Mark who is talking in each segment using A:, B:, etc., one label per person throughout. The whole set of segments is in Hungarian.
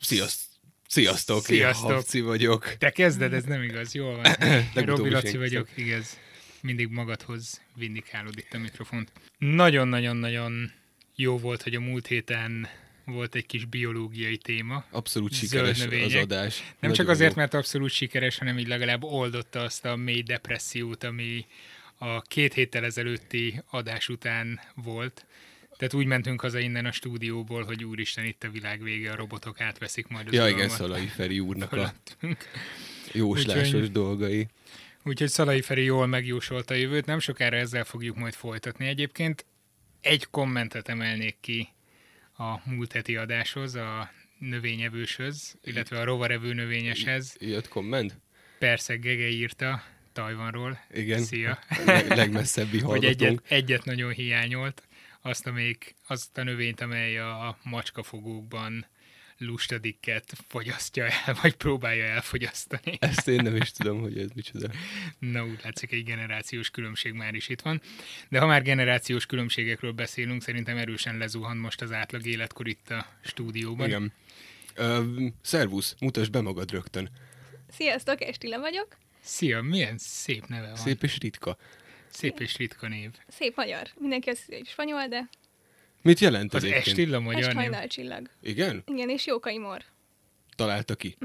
A: Sziaszt- Sziasztok,
B: Sziasztok.
A: Sziasztok. én Habci vagyok.
B: Te kezded, ez nem igaz, jól van. Én
A: Legutóbb
B: Robi
A: is
B: Laci
A: én
B: vagyok, igaz. Mindig magadhoz vindikálod itt a mikrofont. Nagyon-nagyon-nagyon jó volt, hogy a múlt héten volt egy kis biológiai téma.
A: Abszolút
B: Zöld
A: sikeres az
B: növények.
A: adás.
B: Nem csak azért, mert abszolút sikeres, hanem így legalább oldotta azt a mély depressziót, ami a két héttel ezelőtti adás után volt. Tehát úgy mentünk haza innen a stúdióból, hogy úristen, itt a világ vége, a robotok átveszik majd az
A: Ja, igen,
B: uralmat
A: Szalai Feri úrnak a
B: fölöttünk.
A: jóslásos
B: Úgyhogy-
A: dolgai.
B: Úgyhogy Szalai Feri jól megjósolta a jövőt, nem sokára ezzel fogjuk majd folytatni. Egyébként egy kommentet emelnék ki a múlt heti adáshoz, a növényevőshöz, illetve a rovarevő növényeshez.
A: Jött komment?
B: Persze Gege írta Tajvanról.
A: Igen.
B: Szia.
A: Leg, legmesszebbi
B: Hogy
A: hallgatónk.
B: egyet, egyet nagyon hiányolt, azt, amelyik, azt a növényt, amely a macskafogókban lustadikket fogyasztja el, vagy próbálja elfogyasztani.
A: Ezt én nem is tudom, hogy ez micsoda.
B: Na úgy látszik, egy generációs különbség már is itt van. De ha már generációs különbségekről beszélünk, szerintem erősen lezuhan most az átlag életkor itt a stúdióban.
A: Igen. Ö, szervusz, mutasd be magad rögtön.
C: Sziasztok, Estile vagyok.
B: Szia, milyen szép neve van. Szép,
A: Szép és ritka.
B: szép és ritka név.
C: Szép magyar. Mindenki azt hiszi, hogy spanyol, de
A: Mit jelent
B: Az
A: egyébként?
B: Estilla
C: est
B: magyar név.
C: hajnal csillag.
A: Igen?
C: Igen, és Jókai Mor.
A: Találta ki.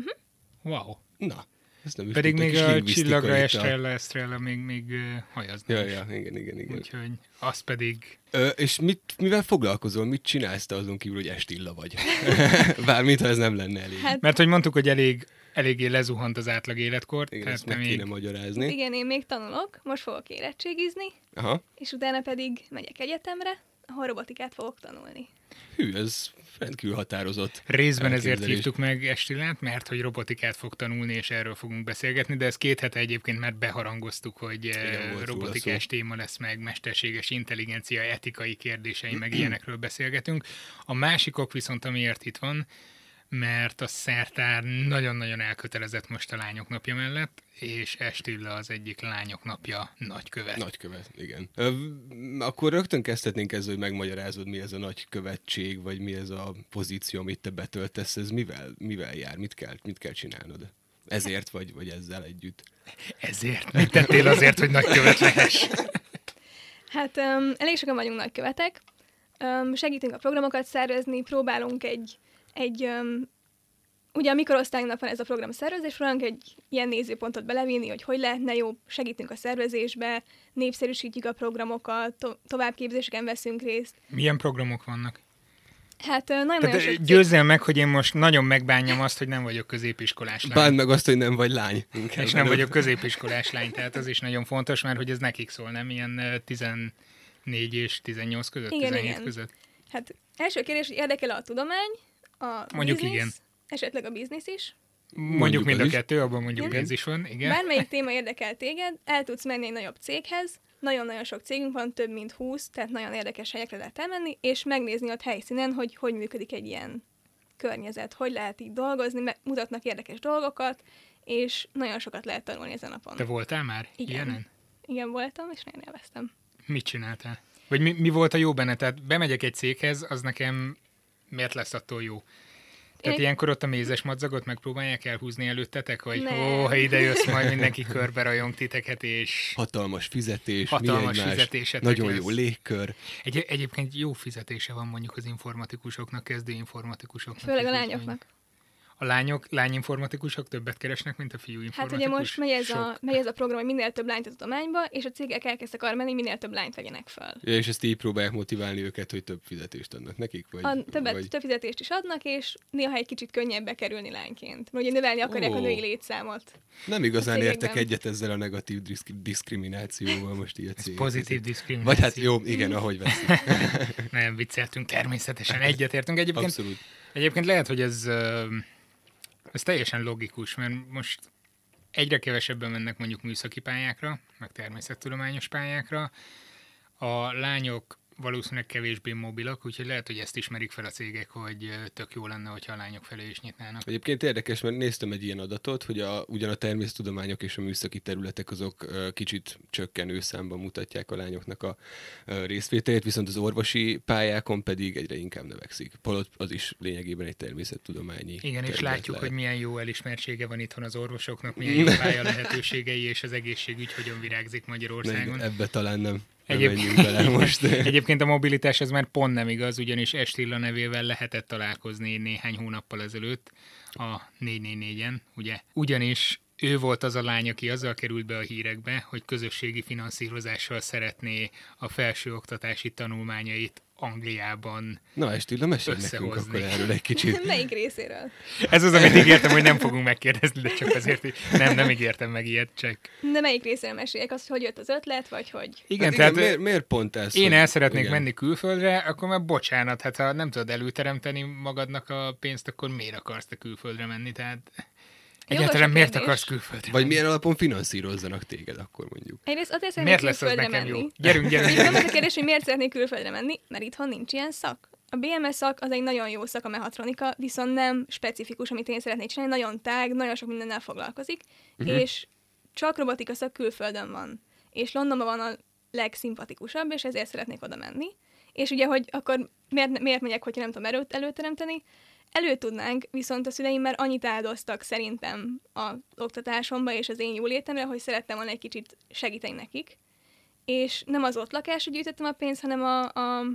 B: Wow.
A: Na, ezt nem is
B: Mhm. Pedig
A: tudta,
B: még
A: kis
B: a
A: lingvisztika
B: csillagra
A: itt a-
B: Estrella, Estrella még, még ö, hajazna.
A: Ja,
B: is.
A: ja, igen, igen, igen.
B: Úgyhogy az pedig
A: Ö, és mit, mivel foglalkozol, mit csinálsz te azon kívül, hogy estilla vagy? Bármint, ha ez nem lenne elég.
C: Hát
B: Mert hogy mondtuk, hogy elég, eléggé lezuhant az átlag életkor,
A: Igen,
B: tehát
A: ezt meg
B: nem
A: kéne
B: Hát, még
A: magyarázni.
C: igen, én még tanulok, most fogok érettségizni,
A: Aha.
C: és utána pedig megyek egyetemre, ahol robotikát fogok tanulni.
A: Hű, ez rendkívül határozott.
B: Részben ezért
A: elképzelés.
B: hívtuk meg Estilát, mert hogy robotikát fog tanulni, és erről fogunk beszélgetni, de ezt két hete egyébként már beharangoztuk, hogy
A: Igen,
B: Igen,
A: volt róla
B: robotikás téma lesz meg, mesterséges intelligencia, etikai kérdései, meg ilyenekről beszélgetünk. A másik ok viszont, amiért itt van, mert a szertár nagyon-nagyon elkötelezett most a lányok napja mellett, és Estilla az egyik lányok napja nagykövet.
A: Nagykövet, igen. Ö, m- akkor rögtön kezdhetnénk ezzel, hogy megmagyarázod, mi ez a nagykövetség, vagy mi ez a pozíció, amit te betöltesz, ez mivel, mivel jár, mit kell, mit kell csinálnod? Ezért vagy, vagy ezzel együtt.
B: Ezért mit tettél azért, hogy nagykövet lehess?
C: Hát um, elég sokan vagyunk nagykövetek, um, segítünk a programokat szervezni, próbálunk egy, egy um, ugye a mikorosztálynak van ez a program szervezés, próbálunk egy ilyen nézőpontot belevinni, hogy hogy lehetne jó, segítünk a szervezésbe, népszerűsítjük a programokat, to- továbbképzéseken veszünk részt.
B: Milyen programok vannak?
C: Hát ö, nagyon-nagyon
B: Tehát
C: sok
B: ö,
C: cég-
B: győzzél meg, hogy én most nagyon megbánjam azt, hogy nem vagyok középiskolás lány.
A: Bánd meg azt, hogy nem vagy lány. Inkább
B: és nem
A: előbb.
B: vagyok középiskolás lány, tehát az is nagyon fontos, mert hogy ez nekik szól, nem ilyen ö, 14 és 18 között,
C: Igen,
B: 17
C: igen.
B: között.
C: Hát első kérdés, hogy érdekel a tudomány, a
B: Mondjuk
C: biznisz,
B: igen.
C: esetleg a biznisz is.
B: Mondjuk,
A: Mondjuk
B: mind
A: az
B: a
A: is.
B: kettő, abban mondjuk
C: Igen.
B: ez is van, igen.
C: Igen. Bármelyik téma érdekel téged, el tudsz menni egy nagyobb céghez, nagyon-nagyon sok cégünk van, több mint 20, tehát nagyon érdekes helyekre lehet elmenni, és megnézni ott helyszínen, hogy hogy működik egy ilyen környezet, hogy lehet így dolgozni, me- mutatnak érdekes dolgokat, és nagyon sokat lehet tanulni ezen a napon.
B: Te voltál már
C: Igen.
B: ilyenen?
C: Igen, voltam, és nagyon élveztem.
B: Mit csináltál? Vagy mi, mi volt a jó benne? Tehát bemegyek egy céghez, az nekem miért lesz attól jó? Tehát
C: Én-
B: ilyenkor ott a mézes madzagot megpróbálják elhúzni előttetek, vagy
C: Nem.
B: ó, ha ide jössz, majd mindenki körbe rajong titeket, és
A: Hatalmas fizetés,
B: Hatalmas
A: mi egymás,
B: fizetésetek
A: nagyon
B: lesz.
A: jó légkör.
B: Egy, egyébként jó fizetése van mondjuk az informatikusoknak, kezdő informatikusoknak.
C: Főleg a
B: úgyhogy
C: lányoknak.
B: A lányok, lányinformatikusok többet keresnek, mint a fiú
C: Hát
B: informatikus.
C: ugye most megy ez,
B: Sok.
C: a, megy ez a program, hogy minél több lányt a tudományba, és a cégek elkezdtek arra menni, minél több lányt vegyenek fel.
A: Ja, és ezt így próbálják motiválni őket, hogy több fizetést adnak nekik? Vagy,
C: A többet,
A: vagy...
C: több fizetést is adnak, és néha egy kicsit könnyebb bekerülni lányként. Mert ugye növelni akarják
A: Ó.
C: a női létszámot.
A: Nem igazán
C: cégekben.
A: értek egyet ezzel a negatív diszk- diszkriminációval most így a
B: Ez
A: cég.
B: pozitív diszkrimináció.
A: Vagy hát jó,
C: Mhm.
A: igen, ahogy veszik.
B: Nem vicceltünk, természetesen egyetértünk. Egyébként,
A: Abszolút.
B: egyébként lehet, hogy ez, ö, ez teljesen logikus, mert most egyre kevesebben mennek mondjuk műszaki pályákra, meg természettudományos pályákra. A lányok valószínűleg kevésbé mobilak, úgyhogy lehet, hogy ezt ismerik fel a cégek, hogy ö, tök jó lenne, hogyha a lányok felé is nyitnának.
A: Egyébként érdekes, mert néztem egy ilyen adatot, hogy a, ugyan a természettudományok és a műszaki területek azok ö, kicsit csökkenő számban mutatják a lányoknak a ö, részvételét, viszont az orvosi pályákon pedig egyre inkább növekszik. Polott az is lényegében egy természettudományi.
B: Igen, és
A: terület
B: látjuk,
A: lehet.
B: hogy milyen jó elismertsége van itthon az orvosoknak, milyen jó pálya lehetőségei, és az egészségügy hogyan virágzik
A: Na,
B: Magyarországon.
A: igen, ebbe talán nem, nem menjünk
B: Egyébként,
A: bele most.
B: egyébként a mobilitás ez már pont nem igaz, ugyanis Estilla nevével lehetett találkozni néhány hónappal ezelőtt a 444-en, ugye? Ugyanis ő volt az a lány, aki azzal került be a hírekbe, hogy közösségi finanszírozással szeretné a felsőoktatási tanulmányait Angliában.
A: Na, Estilla, mesélj nekünk
B: Összehozni.
A: akkor erről egy kicsit.
C: Melyik részéről?
B: Ez az, amit ígértem, hogy nem fogunk megkérdezni, de csak azért, hogy nem, nem ígértem meg ilyet, csak.
C: De melyik részéről meséljek? Azt, hogy jött az ötlet, vagy hogy?
B: Igen,
A: hát
B: tehát
A: igen miért, miért pont ez?
B: Én
A: hogy-
B: el szeretnék
A: igen.
B: igen. menni külföldre, akkor már bocsánat, hát ha nem tudod előteremteni magadnak a pénzt, akkor miért akarsz te külföldre menni? Tehát egyáltalán miért
C: kérdés.
B: akarsz külföldre
A: Vagy milyen alapon finanszírozzanak téged akkor mondjuk?
C: Egyrészt azért
B: menni? Miért
C: szeretnék
B: lesz az
C: külföldre
B: nekem
C: menni.
B: jó? Gyerünk, gyerünk.
C: Nem az a kérdés, hogy miért szeretnék külföldre menni, mert itthon nincs ilyen szak. A BMS szak az egy nagyon jó szak, a mehatronika, viszont nem specifikus, amit én szeretnék csinálni, nagyon tág, nagyon sok mindennel foglalkozik,
B: Mhm.
C: uh-huh. és csak robotika szak külföldön van. És Londonban van a legszimpatikusabb, és ezért szeretnék oda menni. És ugye, hogy akkor miért, miért megyek, hogyha nem tudom erőt előteremteni? Elő tudnánk, viszont a szüleim már annyit áldoztak szerintem az oktatásomba és az én jólétemre, hogy szerettem volna egy kicsit segíteni nekik és nem az ott lakásra gyűjtöttem a pénzt, hanem a, a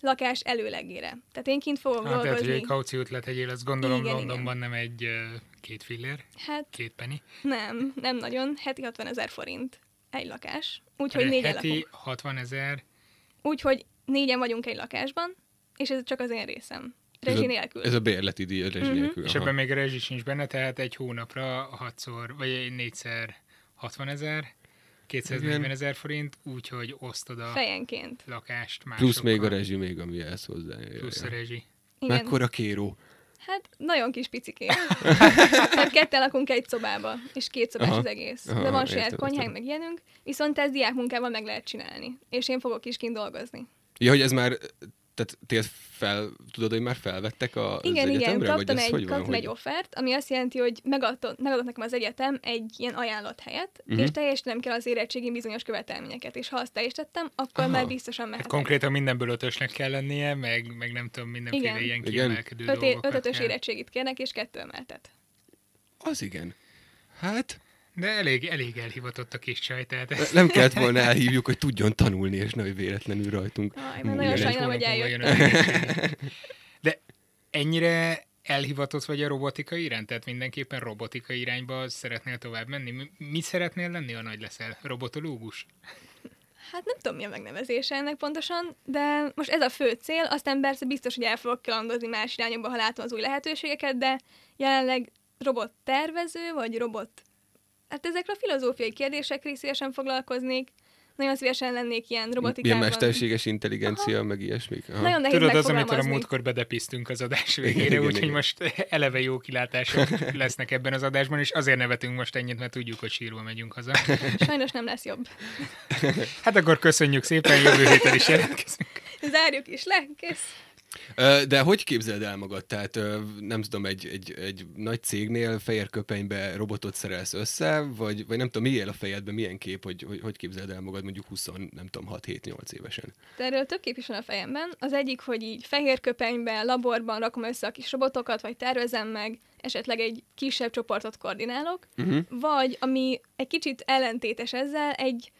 C: lakás előlegére. Tehát én kint fogok
B: Ah, tehát, hogy
C: dolgozni.
B: egy kauciót letegyél, azt gondolom igen,
C: Igen,
B: Londonban nem egy ö, két fillér,
C: Hát
B: két penny.
C: nem, nem nagyon. Heti 60 ezer forint egy lakás. Úgyhogy
B: Hanem
C: négyen
B: Heti
C: lakunk.
B: 60 ezer,
C: Úgyhogy négyen vagyunk egy lakásban, és ez csak az én részem.
A: Ez
C: Rezsi
A: a-
C: nélkül.
A: Ez a bérleti díj, a rezsi
C: Mhm.
A: nélkül.
B: és
A: aha.
B: ebben még a rezsi sincs benne, tehát egy hónapra 6-szor, vagy 4-szer 60 ezer, 240 ezer forint, úgyhogy osztod a
C: Fejenként.
B: lakást másokkal.
A: Plusz még a rezsi, még ami ehhez hozzá.
B: Plusz a rezsi.
C: Igen.
A: Mekkora kéró.
C: Hát nagyon kis picikén. Tehát ketten lakunk egy szobába, és két szobás
A: Aha.
C: az egész.
A: Aha,
C: De van saját
A: értem,
C: konyhánk,
A: értem.
C: meg ilyenünk, viszont ez diákmunkával meg lehet csinálni. És én fogok is kint dolgozni.
A: Ja, hogy ez már, tehát téged fel, tudod, hogy már felvettek a,
C: Igen,
A: az
C: igen,
A: egyetemre?
C: kaptam,
A: vagy ez
C: egy,
A: hogy van,
C: kaptam
A: hogy...
C: egy offert, ami azt jelenti, hogy megadott, megadott nekem az egyetem egy ilyen ajánlott helyet,
A: Mhm.
C: uh-huh. és teljesítenem kell az érettségén bizonyos követelményeket, és ha azt teljesítettem, akkor
A: Aha.
C: Aha. már biztosan
B: Hát
C: mehetek.
B: konkrétan mindenből ötösnek kell lennie, meg, meg nem tudom, mindenféle
C: Igen.
B: ilyen
A: Igen.
B: kiemelkedő
C: Öt, é-
B: dolgokat
C: ötötös
B: kell.
C: érettségit kérnek, és kettő emeltet.
A: Az igen. Hát,
B: De elég, elég elhivatott a kis csaj, tehát ez
A: nem kellett volna elhívjuk, hogy tudjon tanulni, és nehogy véletlenül rajtunk.
C: Aj,
A: múljon
C: már nagyon
A: egy-
B: Ugyanegy
C: sajnálom, hogy
B: hónapon
C: eljött.
B: van jön az érettség. De ennyire elhivatott vagy a robotika iránt? Tehát mindenképpen robotika irányba szeretnél tovább menni? Mi, mit szeretnél lenni, ha nagy leszel? Robotológus?
C: Hát nem tudom, mi a megnevezése ennek pontosan, de most ez a fő cél, aztán persze biztos, hogy el fogok kalandozni más irányokba, ha látom az új lehetőségeket, de jelenleg robot tervező, vagy robot... Hát ezekre a filozófiai kérdésekre szívesen foglalkoznék, nagyon szívesen lennék ilyen
A: Ilyen
C: robotikában.
A: mesterséges intelligencia, meg ilyesmik. Aha.
C: Nagyon nehéz
B: Tudod, az, amitől a
C: megfogalmazni.
B: múltkor bedepiztünk az adás
A: Igen,
B: végére,
A: igen,
B: úgyhogy
A: igen.
B: most eleve jó kilátások lesznek ebben az adásban, és azért nevetünk most ennyit, mert tudjuk, hogy sírva megyünk haza.
C: Sajnos nem lesz jobb.
B: Hát akkor köszönjük szépen, jövő héten is jelentkezünk.
C: Zárjuk is le, kész.
A: Ö, De hogy képzeld el magad? Tehát ö, nem tudom, egy, egy, egy nagy cégnél fehér köpenybe robotot szerelsz össze, vagy, vagy nem tudom, mi él a fejedben, milyen kép, hogy, hogy, hogy képzeld el magad mondjuk 20, nem tudom, 6-7-8 évesen.
C: De erről több kép is van a fejemben. Az egyik, hogy így fehér köpenyben, laborban rakom össze a kis robotokat, vagy tervezem meg, esetleg egy kisebb csoportot koordinálok,
A: Uh-huh.
C: vagy ami egy kicsit ellentétes ezzel, egy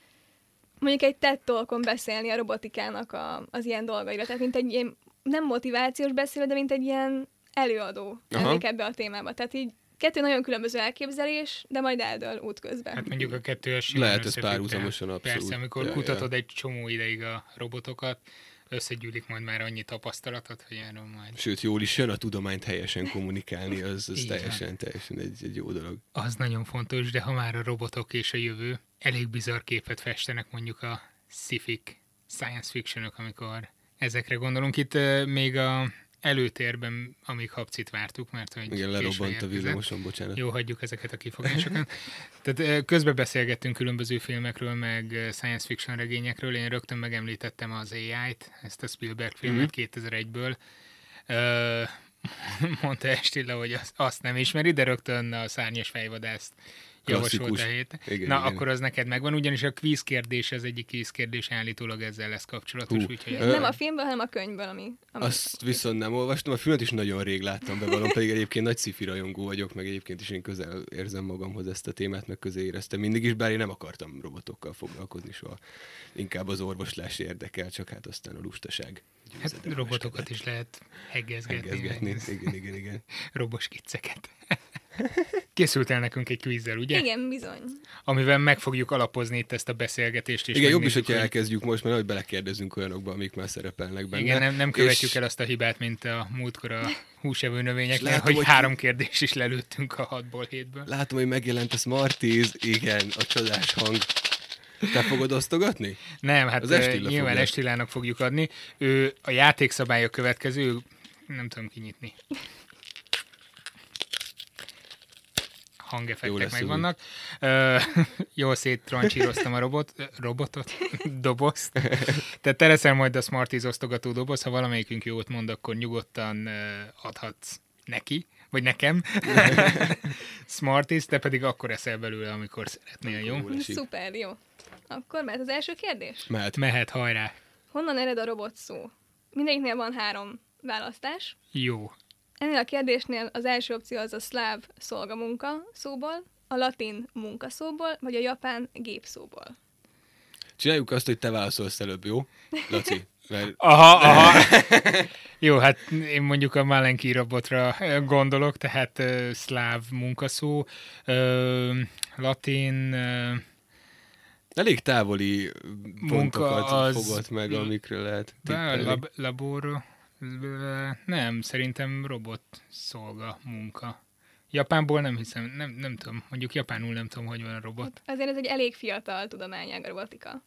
C: mondjuk egy TED Talkon beszélni a robotikának a, az ilyen dolgaira. Tehát mint egy ilyen, nem motivációs beszélő, de mint egy ilyen előadó
A: Aha.
C: lennék ebbe a témába. Tehát így kettő nagyon különböző elképzelés, de majd eldől útközben.
B: Hát mondjuk a kettő esély.
A: Lehet ez párhuzamosan, abszolút.
B: Persze, amikor
A: Ja,
B: ja,
A: ja.
B: kutatod egy csomó ideig a robotokat, összegyűlik majd már annyi tapasztalatot, hogy erről majd.
A: Sőt, jól is jön a tudományt helyesen kommunikálni, az, az
B: Így van.
A: teljesen, teljesen egy, egy jó dolog.
B: Az nagyon fontos, de ha már a robotok és a jövő, elég bizarr képet festenek mondjuk a sci-fik, science fictionok, amikor ezekre gondolunk. Itt ö, még a előtérben, amíg Habcit vártuk, mert hogy
A: Igen,
B: késve
A: lerobbant a
B: érkezett.
A: villamoson, bocsánat.
B: Jó, hagyjuk ezeket a kifogásokat. Tehát ö, közben beszélgettünk különböző filmekről, meg ö, science fiction regényekről. Én rögtön megemlítettem az AI-t, ezt a Spielberg
A: Mhm.
B: filmet 2001-ből. Ö, mondta Estilla, hogy az- azt nem ismeri, de rögtön a szárnyas fejvadászt javasolt a
A: Klasszikus.
B: hét.
A: Igen,
B: Na,
A: igen.
B: akkor az neked megvan, ugyanis a quiz kérdés az egyik quiz kérdés állítólag ezzel lesz kapcsolatos,
A: Hú.
B: úgyhogy...
A: Ö,
C: Nem a filmből, hanem a könyvből, ami... ami
A: Azt viszont nem olvastam, a filmet is nagyon rég láttam be valam, pedig egyébként nagy sci rajongó vagyok, meg egyébként is én közel érzem magamhoz ezt a témát, meg közé éreztem mindig is, bár én nem akartam robotokkal foglalkozni soha. Inkább az orvoslás érdekel, csak hát aztán a lustaság.
B: Hát
A: győzedelmeskedett.
B: robotokat is lehet hegezgetni.
A: Engezgetni.
B: meg
A: Igen, igen, igen.
B: Roboskicceket. Készült el nekünk egy kvízzel, ugye?
C: Igen, bizony.
B: Amivel meg fogjuk alapozni itt ezt a beszélgetést. És
A: igen, jobb is,
B: megnézzük,
A: hogyha elkezdjük most, mert ahogy belekérdezünk olyanokba, amik már szerepelnek benne.
B: Igen, nem, nem
A: És-
B: követjük el azt a hibát, mint a múltkor a húsevő növényeknél,
A: És látom,
B: hogy,
A: hogy-
B: három kérdés is lelőttünk a hatból hétből.
A: Látom, hogy megjelent a Smarties, igen, a csodás hang. Te fogod osztogatni?
B: Nem, hát
A: Az
B: az
A: Estilla
B: nyilván
A: fogja.
B: Estilának fogjuk adni. Ő a játékszabálya következő, ő- nem tudom kinyitni.
A: Jó
B: Hangefektek
A: lesz az
B: megvannak. Ö, jól széttrancsíroztam a robot, ö, robotot, dobozt. Tehát te leszel majd a Smarties osztogató doboz, ha valamelyikünk jót mond, akkor nyugodtan ö, adhatsz neki, vagy nekem. Smarties, te pedig akkor eszel belőle, amikor szeretnél, jó?
A: Jól esik.
C: Szuper, jó. Akkor mehet az első kérdés.
A: Mehet.
B: Mehet, hajrá!
C: Honnan ered a robot szó? Mindegyiknél van három választás.
B: Jó.
C: Ennél a kérdésnél az első opció az a szláv szolgamunka szóból, a latin munkaszóból, vagy a japán gépszóból.
A: Csináljuk azt, hogy te válaszolsz előbb, jó? Laci, mert
B: Aha, aha. Jó, hát én mondjuk a Malenki robotra ö, gondolok, tehát ö, szláv munkaszó, ö, latin, ö,
A: elég távoli pontokat
B: az-
A: fogott meg, amikről lehet
B: bá-
A: tippelni.
B: lab, labor, ö, nem, szerintem robot szolga munka. Japánból nem hiszem, nem, nem tudom, mondjuk japánul nem tudom, hogy van a robot.
C: Azért ez egy elég fiatal tudományág a robotika.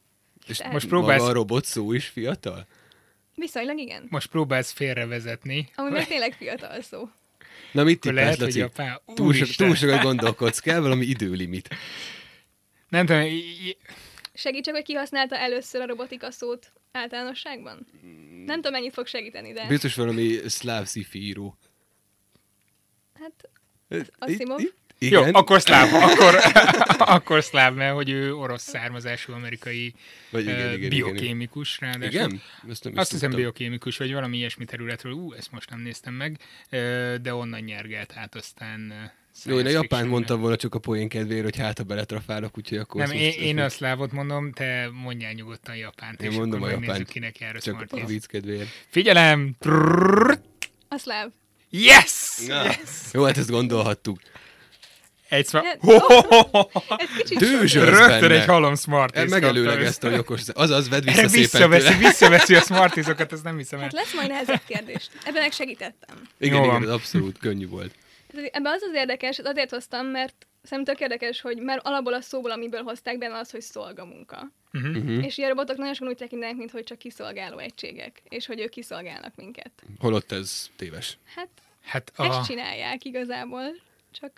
A: És
C: Tehát-
A: próbálsz...
B: Most próbálsz,
A: Maga a robot szó is fiatal?
C: Viszonylag igen.
B: most próbálsz félrevezetni,
C: Ami még tényleg fiatal szó.
A: Na mit
B: akkor
A: tippelsz,
B: lehet, hogy
A: Laci?
B: japán.
A: Túl, so,
B: Úristen.
A: túl sokat gondolkodsz, kell valami időlimit.
B: Nem tudom, i- i-
C: Segítsek, hogy kihasználta először a robotika szót általánosságban? Nem tudom, mennyit fog segíteni, de
A: Biztos valami szláv sci-fi író.
C: hát Asimov?
A: Itt- itt-
B: Jó,
A: Igen,
B: akkor szláv, akkor, akkor szláv, mert hogy ő orosz származású amerikai
A: Vagy igen,
B: ö,
A: igen, igen,
B: biokémikus, ráadásul.
A: igen? Ezt nem is
B: Azt hiszem
A: tudtam.
B: biokémikus, vagy valami ilyesmi területről, ú, ezt most nem néztem meg, ö, de onnan nyergelt át aztán. ö,
A: Jó, én a
B: science
A: japán
B: fictionre.
A: mondtam volna csak a poén kedvéért, hogy hát a beletrafálok, úgyhogy akkor...
B: Nem,
A: azt
B: én,
A: most-
B: én a
A: ezt
B: szlávot mondom, te mondjál nyugodtan japánt,
A: Én
B: és
A: mondom
B: akkor
A: a
B: megnézzük,
A: japánt.
B: kinek jár a
A: Csak
B: smart
A: a vicc kedvéért.
B: Figyelem! Trrrr,
C: a szláv.
B: yes! yes!
A: Jó, hát ezt gondolhattuk.
B: Egy szva...
C: Ez-
B: Ho, ho, ho, ho, ho.
C: Ez kicsit
A: Dőzs!
C: sok.
B: Rögtön
A: benne.
B: egy halom smart
A: E, Megelőlegezte, hogy okos... Azaz, vedd
B: Erre
A: vissza szépen
B: visszaveszi,
A: tőle.
B: visszaveszi a smartizokat, ezt nem hiszem el.
C: Hát lesz majd nehezebb kérdést. Ebben meg segítettem.
A: Igen,
B: Jól
A: igen,
B: van.
A: ez abszolút könnyű volt.
C: Ez- Ebben az az érdekes, ez azért hoztam, mert szerintem tök érdekes, hogy már alapból a szóból, amiből hozták benne az, hogy szolgamunka.
B: Mhm.
A: Uh-huh.
C: És ilyen robotok nagyon sokan úgy tekintenek, mint hogy csak kiszolgáló egységek, és hogy ők kiszolgálnak minket.
A: Holott ez téves.
C: Hát
B: Hát
C: a... ezt
B: a...
C: csinálják igazából, csak,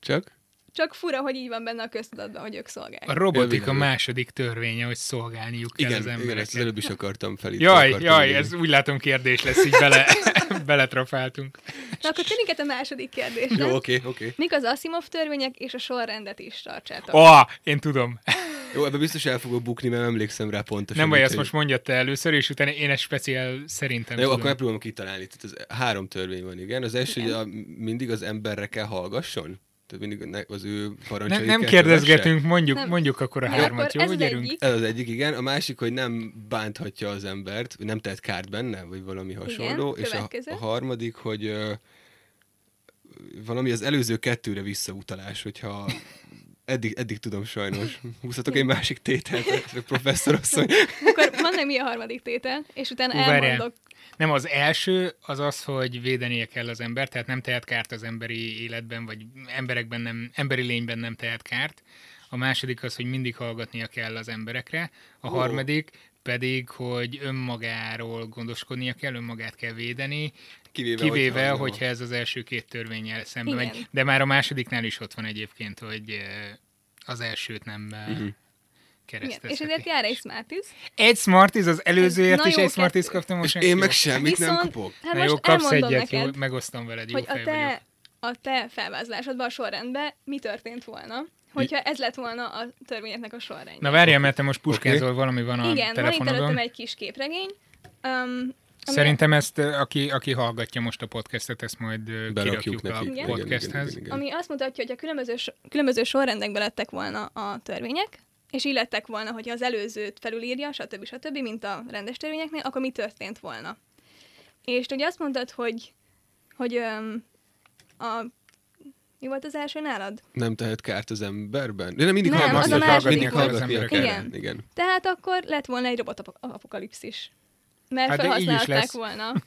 A: Csak?
C: csak fura, hogy így van benne a köztudatban, hogy ők szolgálják.
B: A
C: A...
B: robotika
A: Elvileg.
B: második törvénye, hogy szolgálniuk kell az
A: Igen, igen, ezt az
B: embereknek.
A: előbb is akartam felíteni.
B: Jaj, jaj, ez úgy látom kérdés lesz, így bele, beletrafáltunk.
C: Na akkor térjünk át a második kérdésre.
A: Jó, oké, oké.
C: Mik az Asimov törvények és a sorrendet is tartsátok?
B: Ó, oh, én tudom.
A: Jó, ebbe biztos el fogok bukni, mert emlékszem rá pontosan.
B: Nem baj,
A: úgyhogy-
B: ezt most mondja te először, és utána én egy speciál szerintem
A: Na Jó,
B: tudom.
A: akkor megpróbálom kitalálni. Tehát az három törvény van, igen. Az első, hogy a, mindig az emberre kell hallgasson. Tehát mindig ne- az ő
B: nem,
A: parancsait
B: nem
A: kell
B: kérdezgetünk, mondjuk,
C: Nem.
B: mondjuk akkor a
C: Jó,
B: hármat,
C: akkor
B: jó,
C: ez az
B: gyerünk?
C: egyik.
A: Ez az egyik, igen. A másik, hogy nem bánthatja az embert, vagy nem tehet kárt benne, vagy valami hasonló. és a,
C: következő.
A: a harmadik, hogy ö, valami az előző kettőre visszautalás, hogyha eddig, eddig tudom sajnos. Húzhatok egy másik tételt, professzor asszony.
C: Akkor van nem mi a harmadik tétel, és utána
B: Ú, várjál.
C: elmondok.
B: Nem, az első az az, hogy védenie kell az ember, tehát nem tehet kárt az emberi életben, vagy emberekben nem, emberi lényben nem tehet kárt. A második az, hogy mindig hallgatnia kell az emberekre. A
A: Ó.
B: harmadik pedig, hogy önmagáról gondoskodnia kell, önmagát kell védeni,
A: Kivéve,
B: kivéve,
A: hogyha-
B: hogyha ez az első két törvényel szembe
C: Igen.
B: megy. De már a másodiknál is ott van egyébként, hogy eh, az elsőt nem
A: Mhm.
B: uh-huh.
C: Igen, és
B: keresztezheti.
C: ezért jár egy Smarties.
B: Egy Smarties, az előzőért
C: Na
B: is
C: jó,
B: egy Smarties
C: kettő.
B: kaptam most.
A: És
B: nem
A: én
B: jó.
A: meg semmit nem
C: Viszont-
A: kapok.
C: Hát
B: Na
C: most
B: jó, kapsz
C: elmondom
B: egyet,
C: neked,
B: jó, megosztom veled, jó
C: hogy
B: fej
C: a
B: vagyok.
C: te, a te felvázolásodban a sorrendben mi történt volna, hogyha ez lett volna a törvényeknek a sorrendje.
B: Na várjál, mert te most puskázol, valami van a
C: Igen, van itt
B: telefonodon.
C: előttem egy kis képregény. Um,
B: Szerintem ezt, ö, aki, aki hallgatja most a podcastet, ezt majd ö,
A: Berakjuk
B: kirakjuk a
A: nekik.
C: Igen.
B: podcasthez.
A: Igen.
C: Ami azt mutatja, hogy a különböző, so- különböző sorrendekben lettek volna a törvények, és így lettek volna, hogy az előzőt felülírja, stb. stb., mint a rendes törvényeknél, akkor mi történt volna. És te ugye azt mondtad, hogy, hogy öm, a, mi volt az első nálad?
A: Nem tehet kárt az emberben? De nem mindig
C: Nem,
A: hallgatni
C: az a
A: kell,
C: második
A: mindig
C: volt.
A: hallgatni
B: Igen.
A: kell.
C: Igen.
A: Igen.
C: Tehát akkor lett volna egy robotapokalipszis. Mert
B: Hát
C: hát
B: de így is lesz.
C: felhasználták volna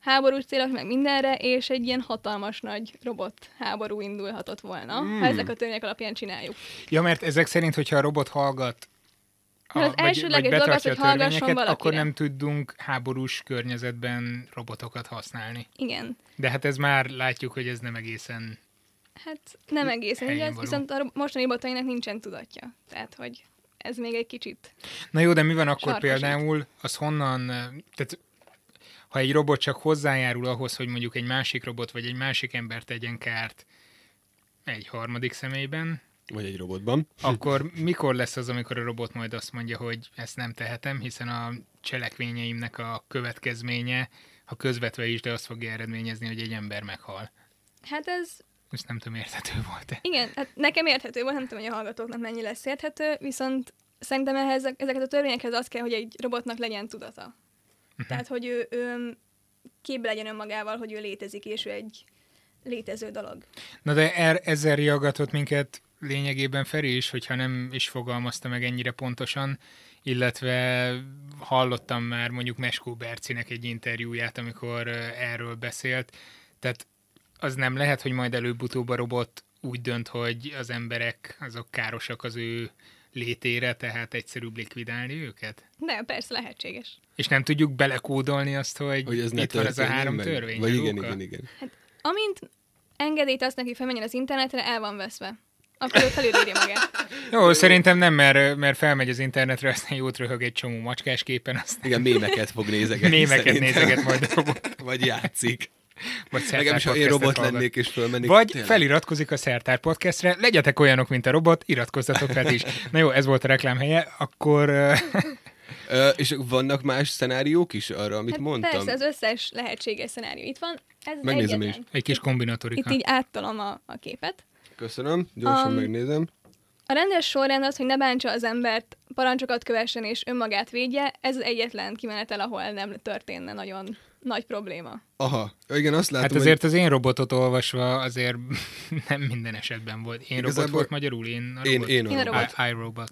C: háborús célok meg mindenre, és egy ilyen hatalmas nagy robot háború indulhatott volna,
B: Hmm.
C: mm. ha ezek a törvények alapján csináljuk.
B: Ja, mert ezek szerint, hogyha a robot hallgat,
C: Mert az elsődleges dolog az,
B: betartja
C: hogy
B: a
C: hallgasson
B: törvényeket, akkor
C: valakire.
B: nem tudunk háborús környezetben robotokat használni.
C: Igen.
B: De hát ez már látjuk, hogy ez nem egészen...
C: Hát nem egészen
B: Helyén
C: igaz,
B: való.
C: viszont a ro- mostani robotainak nincsen tudatja. Tehát, hogy ez még egy kicsit.
B: Na jó, de mi van akkor
C: Sarkosít.
B: például, az honnan... ö, Tehát ha egy robot csak hozzájárul ahhoz, hogy mondjuk egy másik robot vagy egy másik ember tegyen kárt egy harmadik személyben,
A: Vagy egy robotban.
B: akkor mikor lesz az, amikor a robot majd azt mondja, hogy ezt nem tehetem, hiszen a cselekvényeimnek a következménye, ha közvetve is, de azt fogja eredményezni, hogy egy ember meghal.
C: Hát ez,
B: Ezt nem tudom, érthető volt-e.
C: igen, hát nekem érthető volt, nem tudom, hogy a hallgatóknak mennyi lesz érthető, viszont szerintem ehhez, ezeket a törvényekhez az kell, hogy egy robotnak legyen tudata. Tehát, hogy ő, ő képbe legyen önmagával, hogy ő létezik, és ő egy létező dolog.
B: Na de er, ezzel riagatott minket lényegében Feri is, hogyha nem is fogalmazta meg ennyire pontosan, illetve hallottam már mondjuk Meskó Bercinek egy interjúját, amikor ö, erről beszélt. Tehát az nem lehet, hogy majd előbb-utóbb a robot úgy dönt, hogy az emberek azok károsak az ő létére, tehát egyszerűbb likvidálni őket?
C: De persze lehetséges.
B: És nem tudjuk belekódolni azt, hogy,
A: Hogy ez ne
B: itt van ez a
A: történjen
B: három
A: meg.
B: törvény.
A: Vagy igen,
B: Luka?
A: igen, igen.
C: Amint engedélyt azt neki, hogy felmenjen az internetre, el van veszve. Akkor ő felülírja magát.
B: Jó, szerintem nem, mert, mert felmegy az internetre, aztán jót röhög egy csomó macskás képen, aztán
A: Igen, mémeket fog nézegetni.
B: némeket
A: szerintem.
B: nézeget majd a robot.
A: Vagy játszik.
B: Vagy
A: Legalábbis, ha én
B: Szertár
A: robot
B: Podcastet
A: lennék és fölmennék.
B: Vagy
A: tényleg.
B: feliratkozik a Szertár Podcastre, legyetek olyanok, mint a robot, iratkozzatok fel is. Na jó, ez volt a reklámhelye, akkor ö,
A: Ö, és vannak más szenáriók is arra, amit
C: Hát
A: mondtam?
C: persze, az összes lehetséges szenárió itt van. Ez az
A: Megnézem
C: egyetlen.
B: egy kis
C: Itt
B: kombinatorika.
C: így áttalom a, a képet.
A: Köszönöm, gyorsan
C: Um,
A: megnézem.
C: A rendes sorrend az, hogy ne bántsa az embert, parancsokat kövessen és önmagát védje, ez az egyetlen kimenetel, ahol nem történne nagyon nagy probléma. Hát
A: Aha, igen, azt látom,
B: Hát azért az én robotot olvasva azért nem minden esetben volt. Én robot
A: Igazából-
B: volt magyarul, én a
A: hogy én,
B: robot.
A: én,
C: Én a
A: én
C: robot.
B: I, I robot.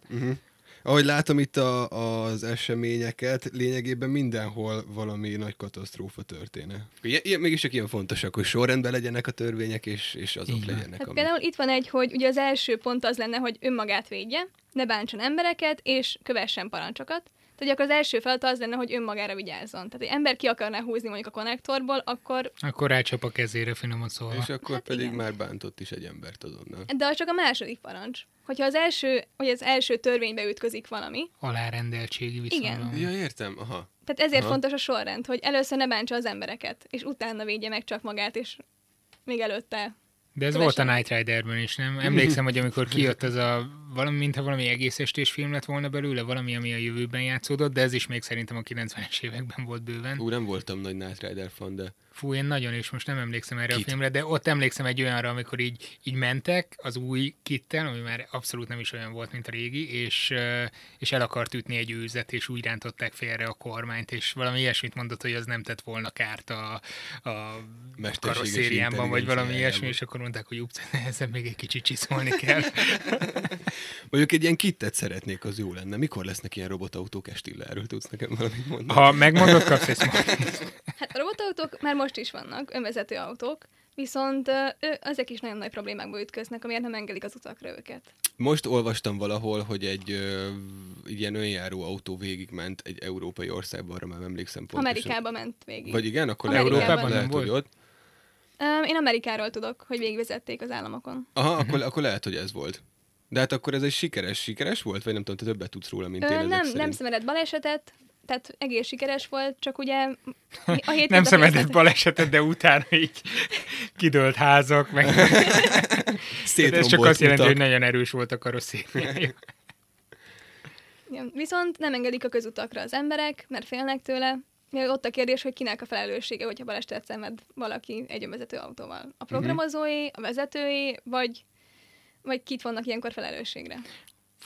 A: Ahogy látom itt a, az eseményeket, lényegében mindenhol valami nagy katasztrófa történe. Ilyen, ilyen, mégiscsak ilyen fontosak, hogy sorrendben legyenek a törvények, és, és azok
B: Így van.
A: legyenek.
C: Hát
A: amik-
C: például itt van egy, hogy ugye az első pont az lenne, hogy önmagát védje, ne bántson embereket és kövessen parancsokat. Tehát akkor az első feladat az lenne, hogy önmagára vigyázzon. Tehát egy ember ki akarná húzni mondjuk a konnektorból, akkor
B: Akkor rácsap a kezére, finoman szólva.
A: És akkor
C: Hát
A: pedig
C: igen.
A: már bántott is egy embert azonnal.
C: de az csak a második parancs. Hogyha az első, hogy az első törvénybe ütközik valami,
B: alárendeltségi viszonyban.
A: Ja, értem, aha.
C: Tehát ezért
A: Aha.
C: Aha. fontos a sorrend, hogy először ne bántsa az embereket, és utána védje meg csak magát, és még előtte.
B: De ez
C: Kövesen.
B: volt a Night Riderben is, nem? Emlékszem, hogy amikor kijött ez a, valami, mintha valami egész estés film lett volna belőle, valami, ami a jövőben játszódott, de ez is még szerintem a 90-es években volt bőven.
A: Ú, nem voltam nagy Knight Rider fan, de
B: Fú, én nagyon, és most nem emlékszem erre
A: Kit.
B: a filmre, de ott emlékszem egy olyanra, amikor így, így mentek az új kittel, ami már abszolút nem is olyan volt, mint a régi, és, ö, és el akart ütni egy őzet, és úgy rántották félre a kormányt, és valami ilyesmit mondott, hogy az nem tett volna kárt a, a
A: mesterséges
B: karosszériámban, vagy
A: intelligenciájában.
B: valami ilyesmi, és akkor mondták, hogy ups, ezen még egy kicsit csiszolni kell.
A: Mondjuk egy ilyen kittet szeretnék, az jó lenne. Mikor lesznek ilyen robotautók estille? Erről tudsz nekem valamit mondani?
B: Ha megmondod, kapsz egy smartphone-t.
C: Hát a robotautók már most is vannak, önvezető autók, viszont ö, ő, ezek is nagyon nagy problémákba ütköznek, amiért nem engedik az utakra őket.
A: Most olvastam valahol, hogy egy ö, ilyen önjáró autó végigment egy európai országban, arra már nem emlékszem pontosan.
C: Amerikába ment végig.
A: Vagy igen, akkor
C: Amerikában.
A: Európában
B: Nem
A: lehet,
B: volt.
A: hogy ott.
C: Öm, én Amerikáról tudok, hogy végigvezették az államokon.
A: Aha, akkor, akkor lehet, hogy ez volt. De hát akkor ez egy sikeres, sikeres volt? Vagy nem tudom, te többet tudsz róla, mint én
C: Ö,
A: ezek
C: nem,
A: szerint.
C: nem szenvedett balesetet, tehát egész sikeres volt, csak ugye mi- a hét
B: Nem
C: hétköznapi
B: szenvedett
C: üzlet-
B: balesetet, de utána így kidőlt házak, meg ez
A: Szétrombolt
B: csak azt jelenti,
A: utak.
B: hogy nagyon erős volt a karosszériája.
C: Igen. Viszont nem engedik a közutakra az emberek, mert félnek tőle. Még Ott a kérdés, hogy kinek a felelőssége, hogyha balesetet szenved valaki egy önvezető autóval. A programozói, a vezetői, vagy, vagy kit vonnak ilyenkor felelősségre.
B: Tudod,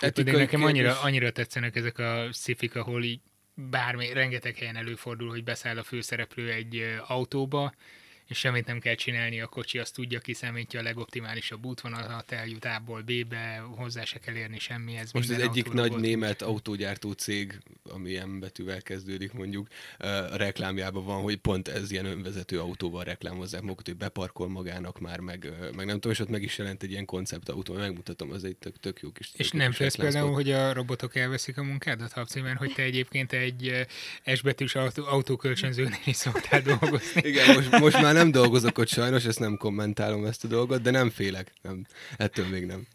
B: én
A: Etikai
B: nekem annyira,
A: kérdés.
B: annyira tetszenek ezek a szifik, ahol így bármi, rengeteg helyen előfordul, hogy beszáll a főszereplő egy ö, autóba, és semmit nem kell csinálni, a kocsi azt tudja, kiszámítja a legoptimálisabb útvonalat, eljut A-ból B-be, hozzá se kell érni semmihez.
A: Most az
B: minden
A: egyik
B: autórobot.
A: nagy német autógyártó cég, ami ilyen betűvel kezdődik mondjuk, ö, a reklámjában van, hogy pont ez ilyen önvezető autóval reklámozzák magukat, hogy beparkol magának már, meg, ö, meg nem tudom, és ott meg is jelent egy ilyen konceptautó, majd megmutatom, az egy tök, tök jó kis
B: És
A: tök jó
B: nem
A: kis
B: félsz
A: reklámszpot.
B: például, hogy a robotok elveszik a munkádat, Habci, mert hogy te egyébként egy ö, S betűs autó, autókölcsönzőnél is szoktál dolgozni.
A: Igen, most, most már nem dolgozok ott sajnos, ezt nem kommentálom ezt a dolgot, de nem félek, nem, ettől még nem.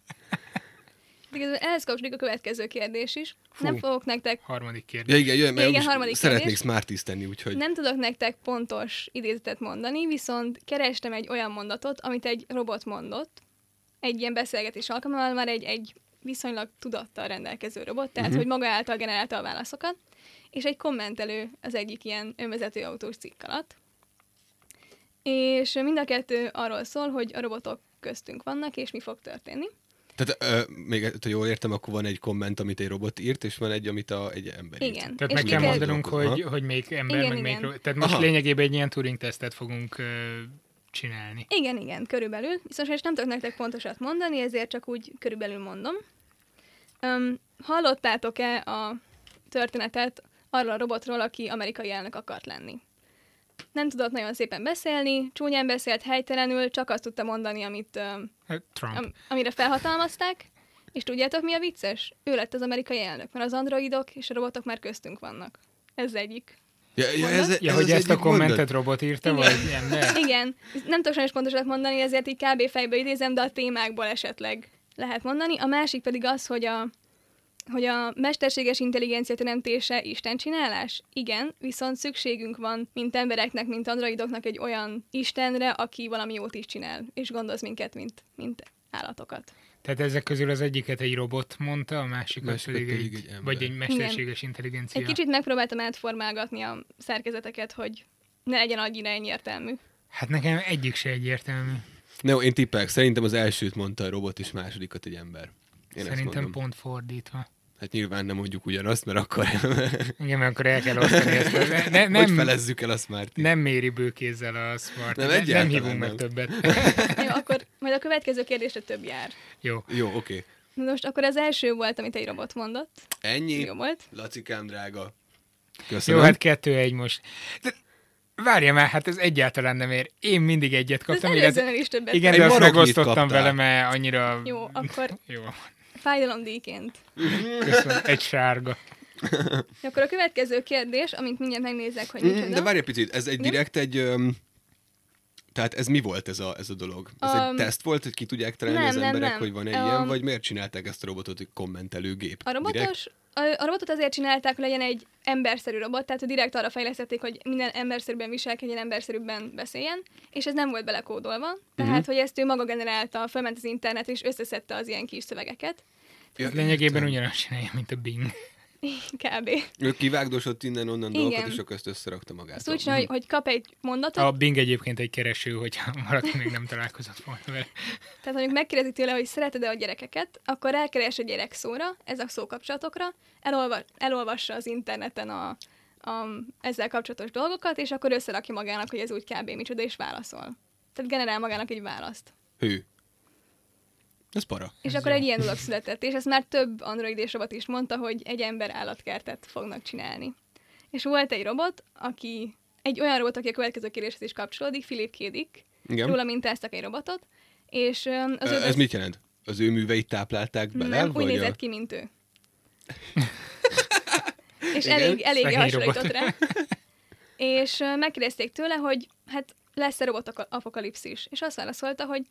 C: Igazából Ehhez kapcsolódik a következő kérdés is.
B: Fú.
C: Nem fogok nektek
B: Harmadik kérdés.
A: Ja igen, jöjjön, mert
C: Ja, igen,
A: úgyis
C: harmadik
A: szeretnék
C: kérdés.
A: smarties tenni, úgyhogy
C: Nem tudok nektek pontos idézetet mondani, viszont kerestem egy olyan mondatot, amit egy robot mondott. Egy ilyen beszélgetés alkalmával már egy, egy viszonylag tudattal rendelkező robot, tehát
B: Mhm.
C: uh-huh. hogy maga által generálta a válaszokat, és egy kommentelő az egyik ilyen önvezető autós cikk alatt. És mind a kettő arról szól, hogy a robotok köztünk vannak, és mi fog történni.
A: tehát, ö, még, ha jól értem, akkor van egy komment, amit egy robot írt, és van egy, amit a, egy ember írt.
C: Igen.
B: Tehát
C: És
B: meg
C: mi
B: kell
C: kell-
B: mondanunk, hogy, hogy melyik ember,
C: Igen,
B: meg melyik...
C: igen.
B: ro- Tehát most
A: Aha.
B: lényegében egy ilyen Turing-tesztet fogunk ö, csinálni.
C: Igen, igen, körülbelül. Viszont sajnos nem tudok nektek pontosat mondani, ezért csak úgy körülbelül mondom. Um, hallottátok-e a történetet arról a robotról, aki amerikai elnök akart lenni? Nem tudott nagyon szépen beszélni, csúnyán beszélt helytelenül, csak azt tudta mondani, amit, um,
B: Ö, Hát Trump.
C: am, amire felhatalmazták. És tudjátok, mi a vicces? Ő lett az amerikai elnök, mert az androidok és a robotok már köztünk vannak. Ez egyik.
A: Ja, ja,
C: Mondat?
A: ez, ez
B: Ja, hogy
A: az
B: ezt a
A: egyik
B: kommentet
A: mondat.
B: robot írta,
C: Igen.
B: vagy ember?
C: Igen, nem tudok sajnos pontosat mondani, ezért így kb. fejbe idézem, de a témákból esetleg lehet mondani. A másik pedig az, hogy a, hogy a mesterséges intelligencia teremtése Isten csinálás? Igen, viszont szükségünk van, mint embereknek, mint androidoknak egy olyan Istenre, aki valami jót is csinál, és gondoz minket, mint, mint állatokat.
B: Tehát ezek közül az egyiket egy robot mondta, a másikat
A: Másikat
B: pedig,
A: pedig
B: egy,
A: egy ember.
B: vagy egy mesterséges intelligencia.
C: Egy kicsit megpróbáltam átformálgatni a szerkezeteket, hogy ne legyen annyira egyértelmű.
B: Hát nekem egyik se egyértelmű.
A: Ne, én tippelek, szerintem az elsőt mondta a robot, és másodikat egy ember. Én ezt
B: Szerintem
A: mondom.
B: pont fordítva.
A: Hát nyilván nem mondjuk ugyanazt, mert akkor
B: Igen, mert akkor el kell osztani ezt. Ne, ne,
A: nem. hogy
B: nem,
A: felezzük el a smart
B: nem méri bőkézzel a smart.
A: Nem,
B: Nem, nem,
A: egyáltalán
B: hívunk meg
A: nem.
B: többet.
C: Jó, akkor majd a következő kérdésre több jár.
B: Jó.
A: Jó, oké.
C: Na Most akkor az első volt, amit egy robot mondott.
A: Ennyi.
C: Jó volt.
A: Lacikám drága.
B: Jó,
A: Köszönöm.
B: hát kettő-egy most. De, várja már, hát ez egyáltalán nem ér. Én mindig egyet
C: Az
B: kaptam. illetve-
C: előzőnél is többet.
B: igen,
A: Egy
B: de azt
A: maroknit
B: megosztottam
A: kaptál.
B: vele, mert annyira...
C: Jó, akkor
B: Jó,
C: fájdalomdíjként.
B: köszönöm. Egy sárga.
C: Akkor a következő kérdés, amit mindjárt megnézek, hogy
A: Mm,
C: micsoda.
A: De várj egy picit, ez egy
C: Igen?
A: direkt egy... Öm, tehát ez mi volt ez a, ez a dolog? Ez
C: Um,
A: egy teszt volt, hogy ki tudják találni
C: nem,
A: az
C: nem,
A: emberek,
C: nem.
A: hogy van-e ilyen,
C: Um,
A: vagy miért csinálták ezt a robotot, hogy kommentelőgép?
C: a
A: Direkt?
C: robotos, a, a robotot azért csinálták, hogy legyen egy emberszerű robot, tehát hogy direkt arra fejlesztették, hogy minden emberszerűbben viselkedjen, emberszerűbben beszéljen, és ez nem volt belekódolva, tehát
A: Mhm.
C: hogy ezt ő maga generálta, felment az internetre és összeszedte az ilyen kis szövegeket,
A: Ja,
B: Hát Lényegében ugyanazt csinálja, mint a Bing.
C: kb.
A: Ő kivágdosott innen-onnan
C: Igen.
A: dolgokat, és akkor ezt összerakta magát.
C: Azt Szóval úgy csinálja, hogy, hogy kap egy mondatot,
B: A Bing egyébként egy kereső, hogyha valaki még nem találkozott volna vele.
C: Tehát mondjuk megkérdezik tőle, hogy szereted-e a gyerekeket, akkor rákeres a gyerek szóra, ez a szókapcsolatokra, elolva, elolvassa az interneten a, a, ezzel kapcsolatos dolgokat, és akkor összerakja magának, hogy ez úgy kb. micsoda, és válaszol. Tehát generál magának egy választ.
A: Hű. Ez para.
C: És
B: Ez
C: akkor
B: jó.
C: egy ilyen dolog született, és ezt már több android és robot is mondta, hogy egy ember állatkertet fognak csinálni. És volt egy robot, aki egy olyan robot, aki a következő kérdéshez is kapcsolódik, Philip Kédik.
A: Igen.
C: Róla mintáztak egy robotot, és öm, az
A: Az
C: ő
A: ez mit jelent? az ő műveit táplálták bele?
C: nem,
A: vagy
C: úgy nézett
A: a...
C: ki, mint ő. és
A: Igen,
C: elég, elég
B: szegény
C: hasonlított
B: robot.
C: rá. És ö, megkérdezték tőle, hogy hát lesz-e robotapokalipszis? És azt válaszolta, hogy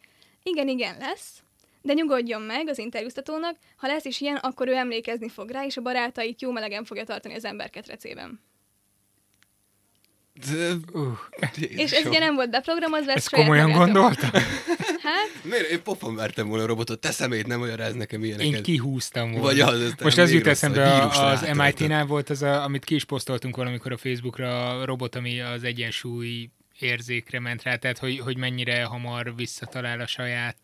C: igen, igen, lesz, de nyugodjon meg az interjúztatónak, ha lesz is ilyen, akkor ő emlékezni fog rá, és a barátait jó melegen fogja tartani az ember ketrecében.
A: De...
B: Uh,
C: És ez ugye nem volt beprogramozva,
B: ezt
C: saját
B: komolyan
C: magától-
B: gondoltam?
C: Hát,
A: Miért? Én pofon vertem volna a robotot, te szemét nem magyaráz nekem ilyeneket.
B: Én kihúztam volna.
A: Vagy az, aztán
B: Most az
A: még
B: jut
A: rosszabb,
B: eszembe
A: vírusra
B: az
A: átöltött.
B: MIT-nál volt, az a, amit ki is posztoltunk valamikor a Facebookra, a robot, ami az egyensúly érzékre ment rá, tehát hogy, hogy mennyire hamar visszatalál a saját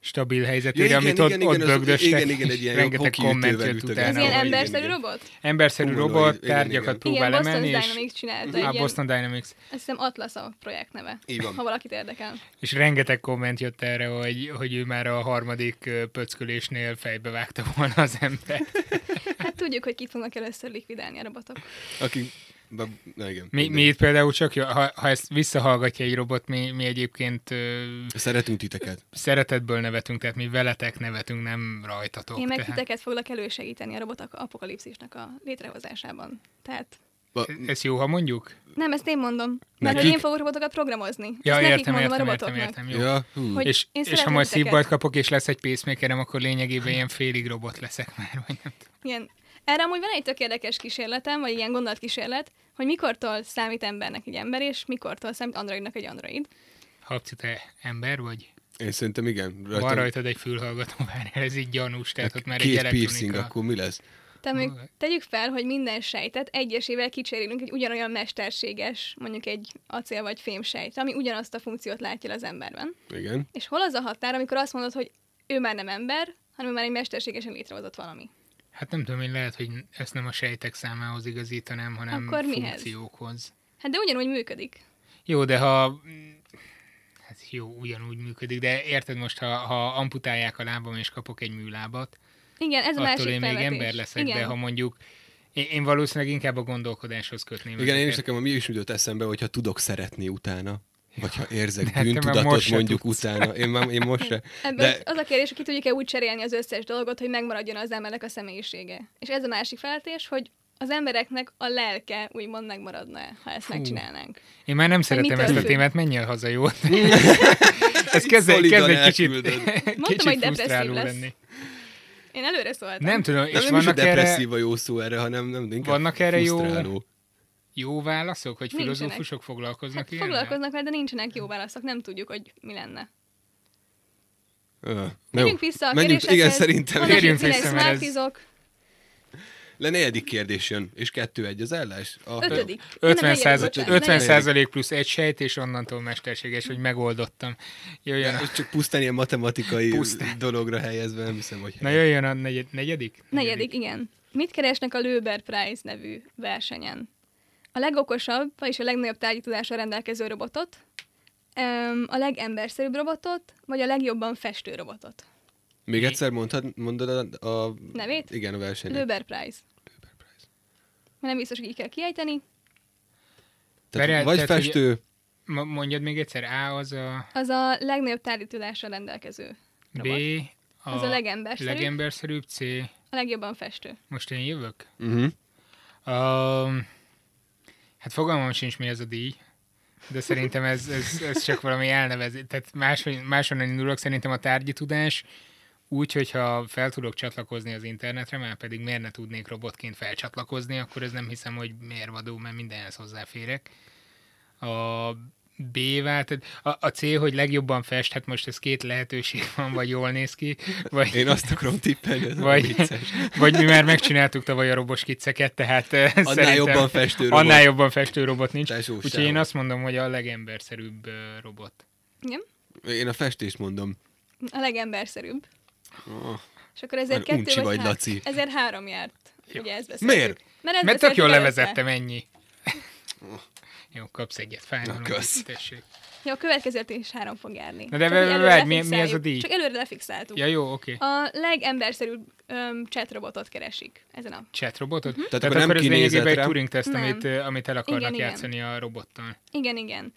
B: stabil helyzetére,
A: Ja, igen,
B: amit ott,
A: igen,
B: ott
A: igen, az-
B: bögdöstek,
A: igen, igen, egy
B: és
A: ilyen
B: rengeteg
A: hokiütővel
B: komment jött
A: ütögetett.
C: ez
B: utána.
C: ilyen
A: hogy-
C: emberszerű
A: igen.
C: robot?
B: emberszerű
A: Humanoid,
B: robot,
A: igen, igen.
B: tárgyakat
C: Igen,
B: próbál
C: Boston
B: emelni, és
C: Dynamics csinálta.
B: Á,
C: egy ilyen-
B: Boston Dynamics.
C: Azt hiszem Atlas a projekt neve.
A: Így van.
C: Ha valakit érdekel.
B: És rengeteg komment jött erre, hogy, hogy ő már a harmadik ö, pöckölésnél fejbe vágta volna az ember.
C: Hát tudjuk, hogy kit fognak először likvidálni a robotok.
A: Akik... Be... Na igen.
B: Mi, mi itt például csak, jó- ha, ha ezt visszahallgatja egy robot, mi, mi egyébként ö,
A: Szeretünk titeket.
B: szeretetből nevetünk, tehát mi veletek nevetünk, nem rajtatok.
C: Én meg
B: tehát.
C: titeket foglak elősegíteni a robotok apokalipszisnak a létrehozásában. Tehát
A: Ba...
B: Ezt e, jó, ha mondjuk?
C: nem, ezt én mondom. Mert hogy
A: Nekik?
C: én fogok robotokat programozni.
B: Ja,
C: ezt nekik
B: értem,
C: mondom
B: értem,
C: a
B: értem,
C: robotoknak.
B: értem, jó.
A: Ja, hú.
C: Hogy-
B: És,
C: én
B: és ha
C: szeretem
B: majd
C: titeket.
B: szívbajt kapok, és lesz egy pacemakerem, akkor lényegében ilyen félig robot leszek már, vagy nem tudom.
C: Igen. Erre amúgy van egy tök érdekes kísérletem, vagy ilyen gondolatkísérlet, hogy mikortól számít embernek egy ember, és mikortól számít androidnak egy android.
B: Habci, te ember vagy?
A: Én szerintem igen.
B: Van rajtad egy fülhallgató, már ez így gyanús, tehát ott már egy
A: Két piercing,
B: elektronika.
A: akkor mi lesz?
C: Te még
B: Alright.
C: tegyük fel, hogy minden sejtet egyesével kicserélünk egy ugyanolyan mesterséges, mondjuk egy acél vagy fém sejt, ami ugyanazt a funkciót látja el az emberben.
A: Igen.
C: És hol az a határ, amikor azt mondod, hogy ő már nem ember, hanem ő már egy mesterségesen létrehozott valami.
B: Hát nem tudom, én lehet, hogy ezt nem a sejtek számához igazítanám, hanem
C: Akkor mihez?
B: funkciókhoz.
C: Hát de ugyanúgy működik.
B: Jó, de ha... Hát jó, ugyanúgy működik, de érted most, ha, ha amputálják a lábam és kapok egy műlábat,
C: Igen, ez a
B: attól
C: másik
B: én még
C: felvetés.
B: ember leszek,
C: Igen.
B: de ha mondjuk... Én, én valószínűleg inkább a gondolkodáshoz kötném.
A: Igen, én is
B: ezeket.
A: nekem a mi is jutott eszembe, hogyha tudok szeretni utána, vagy ha érzek
B: De te már most
A: bűntudatot
B: se
A: mondjuk
B: tudsz.
A: utána. Én már én most se.
C: Ebből
A: De
C: de... az a kérdés, hogy ki tudjuk-e úgy cserélni az összes dolgot, hogy megmaradjon az embernek a személyisége. És ez a másik felvetés, hogy az embereknek a lelke úgymond megmaradna, ha ezt megcsinálnánk.
B: Én már nem szeretem
C: mitől
B: ezt a
C: függ?
B: témát, menj el haza, jó? Ez kezd, egy-
A: szolidan
B: kezd egy kicsit,
A: elküldöd.
B: kicsit
C: hogy depresszív
B: frusztráló
C: lesz. Hát
B: lenni.
C: Én előre szóltam.
B: Nem tudom, és
A: nem, nem is a
B: vannak erre
A: depresszív a jó szó erre, hanem nem, inkább
B: Vannak erre jó-
A: frusztráló.
B: jó válaszok, hogy
C: Nincsenek.
B: filozófusok foglalkoznak
C: Hát
B: ilyennel?
C: foglalkoznak vele, de nincsenek jó válaszok, nem tudjuk, hogy mi lenne.
A: Ö, na jó.
C: Menjünk vissza a
A: Menjünk, igen,
C: kérdésekhez.
A: szerintem.
C: Honnan
B: Térjünk
C: jött ide
B: vissza,
C: egy
B: mert ez-
C: smartizok?
A: Le negyedik kérdés jön, és kettő-egy az ellás. A...
C: Ötödik. Nem,
B: 50,
C: negyedik,
B: százalék,
C: bocsánat.
B: 50
C: Negyedik.
B: százalék plusz egy sejt, és onnantól mesterséges, hogy megoldottam. Jöjjön,
A: Ja, és csak pusztán ilyen matematikai
B: Pusztán.
A: dologra helyezve, nem hiszem, hogy...
B: na jöjjön a negyed, negyedik?
C: Negyedik, igen. Mit keresnek a Löber Prize nevű versenyen? A legokosabb, vagyis a legnagyobb tárgyítudással rendelkező robotot, öm, a legemberszerűbb robotot, vagy a legjobban festő robotot?
A: Még egyszer mondtad, mondod a... a...
C: Nevét?
A: Igen, a versenyt.
C: Löber Prize. Mert Nem biztos, hogy így kell kiejteni.
A: Tehát
B: Várjál,
A: vagy
B: tehát, hogy-
A: festő,
B: Ma- Mondjad még egyszer, A az a
C: Az a legnagyobb tárgyítudással rendelkező
B: B,
C: robot.
B: a,
C: Az a legemberszerűbb.
B: legemberszerűbb, C,
C: A legjobban festő.
B: most én jövök?
A: uh-huh.
B: Um, hát fogalmam sincs, mi ez a díj, de szerintem ez, ez, ez csak valami elnevezés. Tehát máshogy, máshonnan indulok, szerintem a tárgyi tudás úgy, hogyha fel tudok csatlakozni az internetre, már pedig miért ne tudnék robotként felcsatlakozni, akkor ez nem hiszem, hogy mérvadó, mert mindenhez hozzáférek. A B-vel, tehát a, a C, hogy legjobban fest, hát most ez két lehetőség van, vagy jól néz ki, vagy...
A: Én azt akarom tippelni, ez Vagy...
B: Vagy,
A: vicces.
B: vagy mi már megcsináltuk tavaly a robos kicceket, tehát eh,
A: Annál
B: szerintem
A: jobban festő robot.
B: annál jobban festő robot nincs.
A: Tesó,
B: Úgyhogy
A: sehol.
B: én azt mondom, hogy a legemberszerűbb eh, robot.
C: Igen?
A: Én a festést mondom.
C: A legemberszerűbb.
A: Oh.
C: És akkor ezért
A: Már
C: kettő
A: uncsi vagy,
C: há-
A: Laci.
C: ezért három járt. Ugye ezt beszéltük.
A: Miért?
C: Mert, ezt
B: Mert tök jól
C: beszéltük előtte.
B: levezettem, ennyi. Jó, kapsz egyet, fájlom.
A: Na, kösz.
B: Tessék.
C: Ja, a következőt is három fog járni.
B: Na de
C: Csak, hogy
B: várj,
C: előre
B: várj, mi- mi
C: lefixáljuk.
B: ez a díj?
C: Csak előre lefixáltuk.
B: Ja, jó, oké. Okay.
C: A legemberszerűbb um, chat robotot keresik ezen a...
B: Chat robotot? Tehát,
A: Mhm. akkor nem
B: akkor ez
A: kinézett
B: lényegében egy
A: rá?
B: Turing teszt,
C: Nem.
B: amit, eh, amit el akarnak
C: Igen, igen.
B: játszani a robottal.
C: Igen, igen.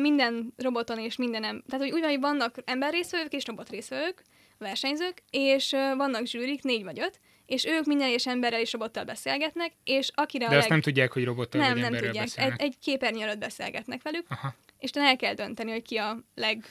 C: minden roboton és mindenem. Tehát, hogy úgy van, hogy vannak emberrészvevők és robotrészvevők, versenyzők, és ö, vannak zsűrik, négy vagy öt, és ők minden egyes emberrel és robottal beszélgetnek, és akire
B: De
C: a
B: azt
C: leg...
B: nem tudják, hogy robottal
C: nem,
B: vagy
C: nem
B: emberről
C: tudják. Hát,
B: beszélnek.
C: Egy, egy képernyő előtt beszélgetnek velük,
B: Aha. Hát
C: és te el kell dönteni, hogy ki a leg